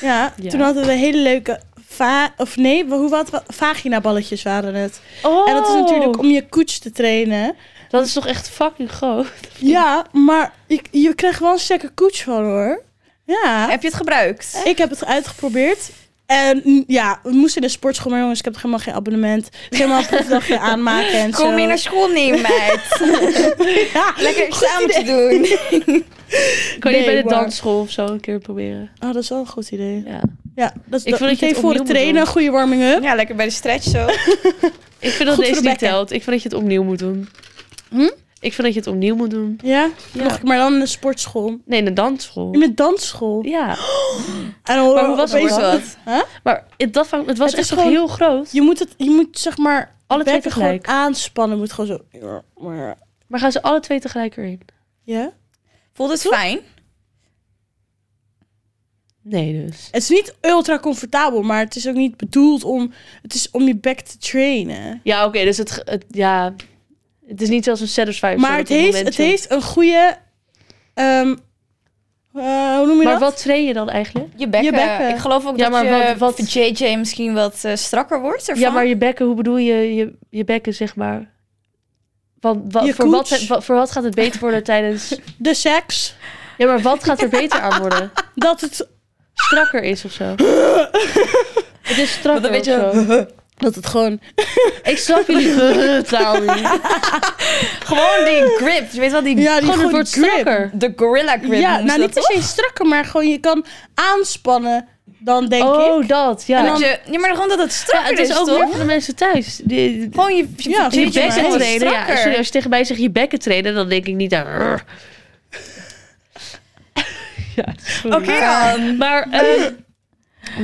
[SPEAKER 3] Ja,
[SPEAKER 1] Ja.
[SPEAKER 3] toen hadden we hele leuke va of nee, hoe wat vaginaballetjes waren het.
[SPEAKER 1] Oh,
[SPEAKER 3] En dat is natuurlijk om je koets te trainen.
[SPEAKER 1] dat is toch echt fucking groot.
[SPEAKER 3] Ja, maar je, je krijgt wel een sterke koets van hoor. Ja,
[SPEAKER 2] Heb je het gebruikt?
[SPEAKER 3] ik heb het uitgeprobeerd. En mm, ja, we moesten in de sportschool, maar jongens, ik heb toch helemaal geen abonnement. Dus Helemaal een proefdagje aanmaken en zo.
[SPEAKER 2] Kom mee naar school nemen, meid.
[SPEAKER 3] Ja.
[SPEAKER 2] Lekker examen te doen.
[SPEAKER 1] Kan
[SPEAKER 3] Nee,
[SPEAKER 1] je niet bij de
[SPEAKER 3] maar-
[SPEAKER 1] dansschool of zo een keer proberen?
[SPEAKER 3] Oh, dat is wel een goed idee.
[SPEAKER 1] Ja.
[SPEAKER 3] Ja, dat is
[SPEAKER 1] Ik vond dat je het
[SPEAKER 3] meteen voor het
[SPEAKER 1] opnieuw moet
[SPEAKER 3] trainen,
[SPEAKER 1] doen.
[SPEAKER 3] een goede warming-up.
[SPEAKER 2] Ja, lekker bij de stretch zo.
[SPEAKER 1] Ik vind dat
[SPEAKER 3] Goed voor
[SPEAKER 1] deze
[SPEAKER 3] de
[SPEAKER 1] niet
[SPEAKER 3] bekken.
[SPEAKER 1] telt. Ik vind dat je het opnieuw moet doen.
[SPEAKER 3] Hm?
[SPEAKER 1] Ik vind dat je het opnieuw moet doen.
[SPEAKER 3] Ja,
[SPEAKER 1] Ja.
[SPEAKER 3] Nog, maar dan in de sportschool.
[SPEAKER 1] Nee, in de dansschool.
[SPEAKER 3] In de dansschool.
[SPEAKER 1] Ja,
[SPEAKER 3] En dan
[SPEAKER 1] Maar hoe was het
[SPEAKER 3] opeens-
[SPEAKER 1] dan?
[SPEAKER 2] Wat?
[SPEAKER 3] Huh?
[SPEAKER 1] maar het, dat, vang- het was
[SPEAKER 3] Het is
[SPEAKER 1] echt toch
[SPEAKER 3] gewoon-
[SPEAKER 1] heel groot.
[SPEAKER 3] Je moet het, je moet zeg maar
[SPEAKER 1] Alle twee
[SPEAKER 3] bekken gewoon
[SPEAKER 1] tegelijk.
[SPEAKER 3] aanspannen. Moet gewoon zo. Ja?
[SPEAKER 1] Maar gaan ze alle twee tegelijk erin?
[SPEAKER 2] Voelt het fijn?
[SPEAKER 1] Nee, dus.
[SPEAKER 3] Het is niet ultra comfortabel, maar het is ook niet bedoeld om. Het is om je bek te trainen.
[SPEAKER 1] Ja, oké, dus het, ge- het- ja, het is niet zoals een satisfy. of zo,
[SPEAKER 3] Maar
[SPEAKER 1] dat
[SPEAKER 3] het
[SPEAKER 1] op
[SPEAKER 3] heeft,
[SPEAKER 1] moment
[SPEAKER 3] het
[SPEAKER 1] zo-
[SPEAKER 3] heeft een goede. ehm, eh, hoe noem je
[SPEAKER 1] Maar
[SPEAKER 3] dat?
[SPEAKER 1] wat train je dan eigenlijk?
[SPEAKER 2] Je bekken.
[SPEAKER 3] Je bekken.
[SPEAKER 2] Ik geloof ook
[SPEAKER 1] Ja,
[SPEAKER 2] dat
[SPEAKER 1] maar
[SPEAKER 2] je
[SPEAKER 1] wat- wat-
[SPEAKER 2] voor JJ misschien wat eh, strakker wordt ervan.
[SPEAKER 1] Ja, maar je bekken, hoe bedoel je je, je bekken, zeg maar? Want wa-
[SPEAKER 3] Je
[SPEAKER 1] voor, wat,
[SPEAKER 3] koets.
[SPEAKER 1] wa- voor wat gaat het beter worden tijdens...
[SPEAKER 3] De seks.
[SPEAKER 1] Ja, maar wat gaat er beter aan worden?
[SPEAKER 3] Dat het,
[SPEAKER 1] Strakker is of zo. het is strakker
[SPEAKER 2] Met een
[SPEAKER 1] of zo.
[SPEAKER 3] dat het gewoon.
[SPEAKER 1] Ik snap jullie taal niet.
[SPEAKER 2] Gewoon die grip. Je weet wel, die,
[SPEAKER 3] Ja, die
[SPEAKER 1] Gewoon, het
[SPEAKER 3] gewoon
[SPEAKER 1] wordt
[SPEAKER 3] grip.
[SPEAKER 1] strakker.
[SPEAKER 2] de gorilla grip.
[SPEAKER 3] Ja,
[SPEAKER 2] noemen ze
[SPEAKER 3] nou niet
[SPEAKER 2] dat,
[SPEAKER 3] per se strakker, maar gewoon je kan aanspannen. Dan denk ik.
[SPEAKER 1] Oh, dat, ja.
[SPEAKER 2] Ja, dat je, ja, maar gewoon dat het
[SPEAKER 1] Ja,
[SPEAKER 2] strakker
[SPEAKER 1] het is
[SPEAKER 2] is,
[SPEAKER 1] ook
[SPEAKER 2] toch?
[SPEAKER 1] meer voor de mensen thuis. Die, die-
[SPEAKER 2] Gewoon je, je,
[SPEAKER 3] dus, Ja,
[SPEAKER 2] je,
[SPEAKER 1] je
[SPEAKER 3] Jeetje, maar
[SPEAKER 1] bekken
[SPEAKER 3] het is
[SPEAKER 1] trainen. Ja, sorry, als je tegen mij zegt je bekken trainen, dan denk ik niet aan... "Rrr." Ja, sorry.
[SPEAKER 2] Oké dan.
[SPEAKER 1] Maar ehm,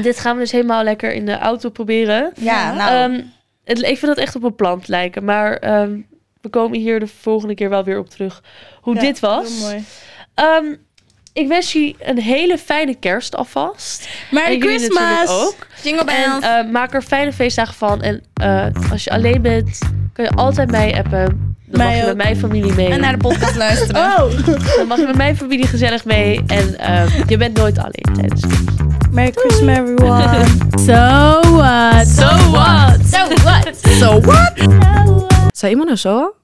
[SPEAKER 1] Dit gaan we dus helemaal lekker in de auto proberen.
[SPEAKER 2] Ja,
[SPEAKER 3] Ja.
[SPEAKER 2] nou.
[SPEAKER 1] Ehm, het, ik vind dat echt op een plant lijken. Maar ehm, we komen hier de volgende keer wel weer op terug hoe
[SPEAKER 3] Ja,
[SPEAKER 1] dit was.
[SPEAKER 3] Heel mooi.
[SPEAKER 1] Ehm, ik wens je een hele fijne kerst alvast.
[SPEAKER 3] Merry
[SPEAKER 1] en jullie
[SPEAKER 3] Christmas!
[SPEAKER 1] natuurlijk ook.
[SPEAKER 2] jingle
[SPEAKER 1] En
[SPEAKER 2] bells.
[SPEAKER 1] eh, maak er fijne feestdagen van. En eh, als je alleen bent, kun je altijd mij appen. Dan
[SPEAKER 3] Mij
[SPEAKER 1] mag je
[SPEAKER 3] ook.
[SPEAKER 1] met mijn familie mee.
[SPEAKER 2] en naar de podcast luisteren.
[SPEAKER 3] eh, Oh!
[SPEAKER 1] Dan mag je met mijn familie gezellig mee. En eh, je bent nooit alleen tijdens kerst.
[SPEAKER 3] Merry Christmas, everyone! so what?
[SPEAKER 1] So what?
[SPEAKER 2] So what?
[SPEAKER 4] Saímonos, Soa?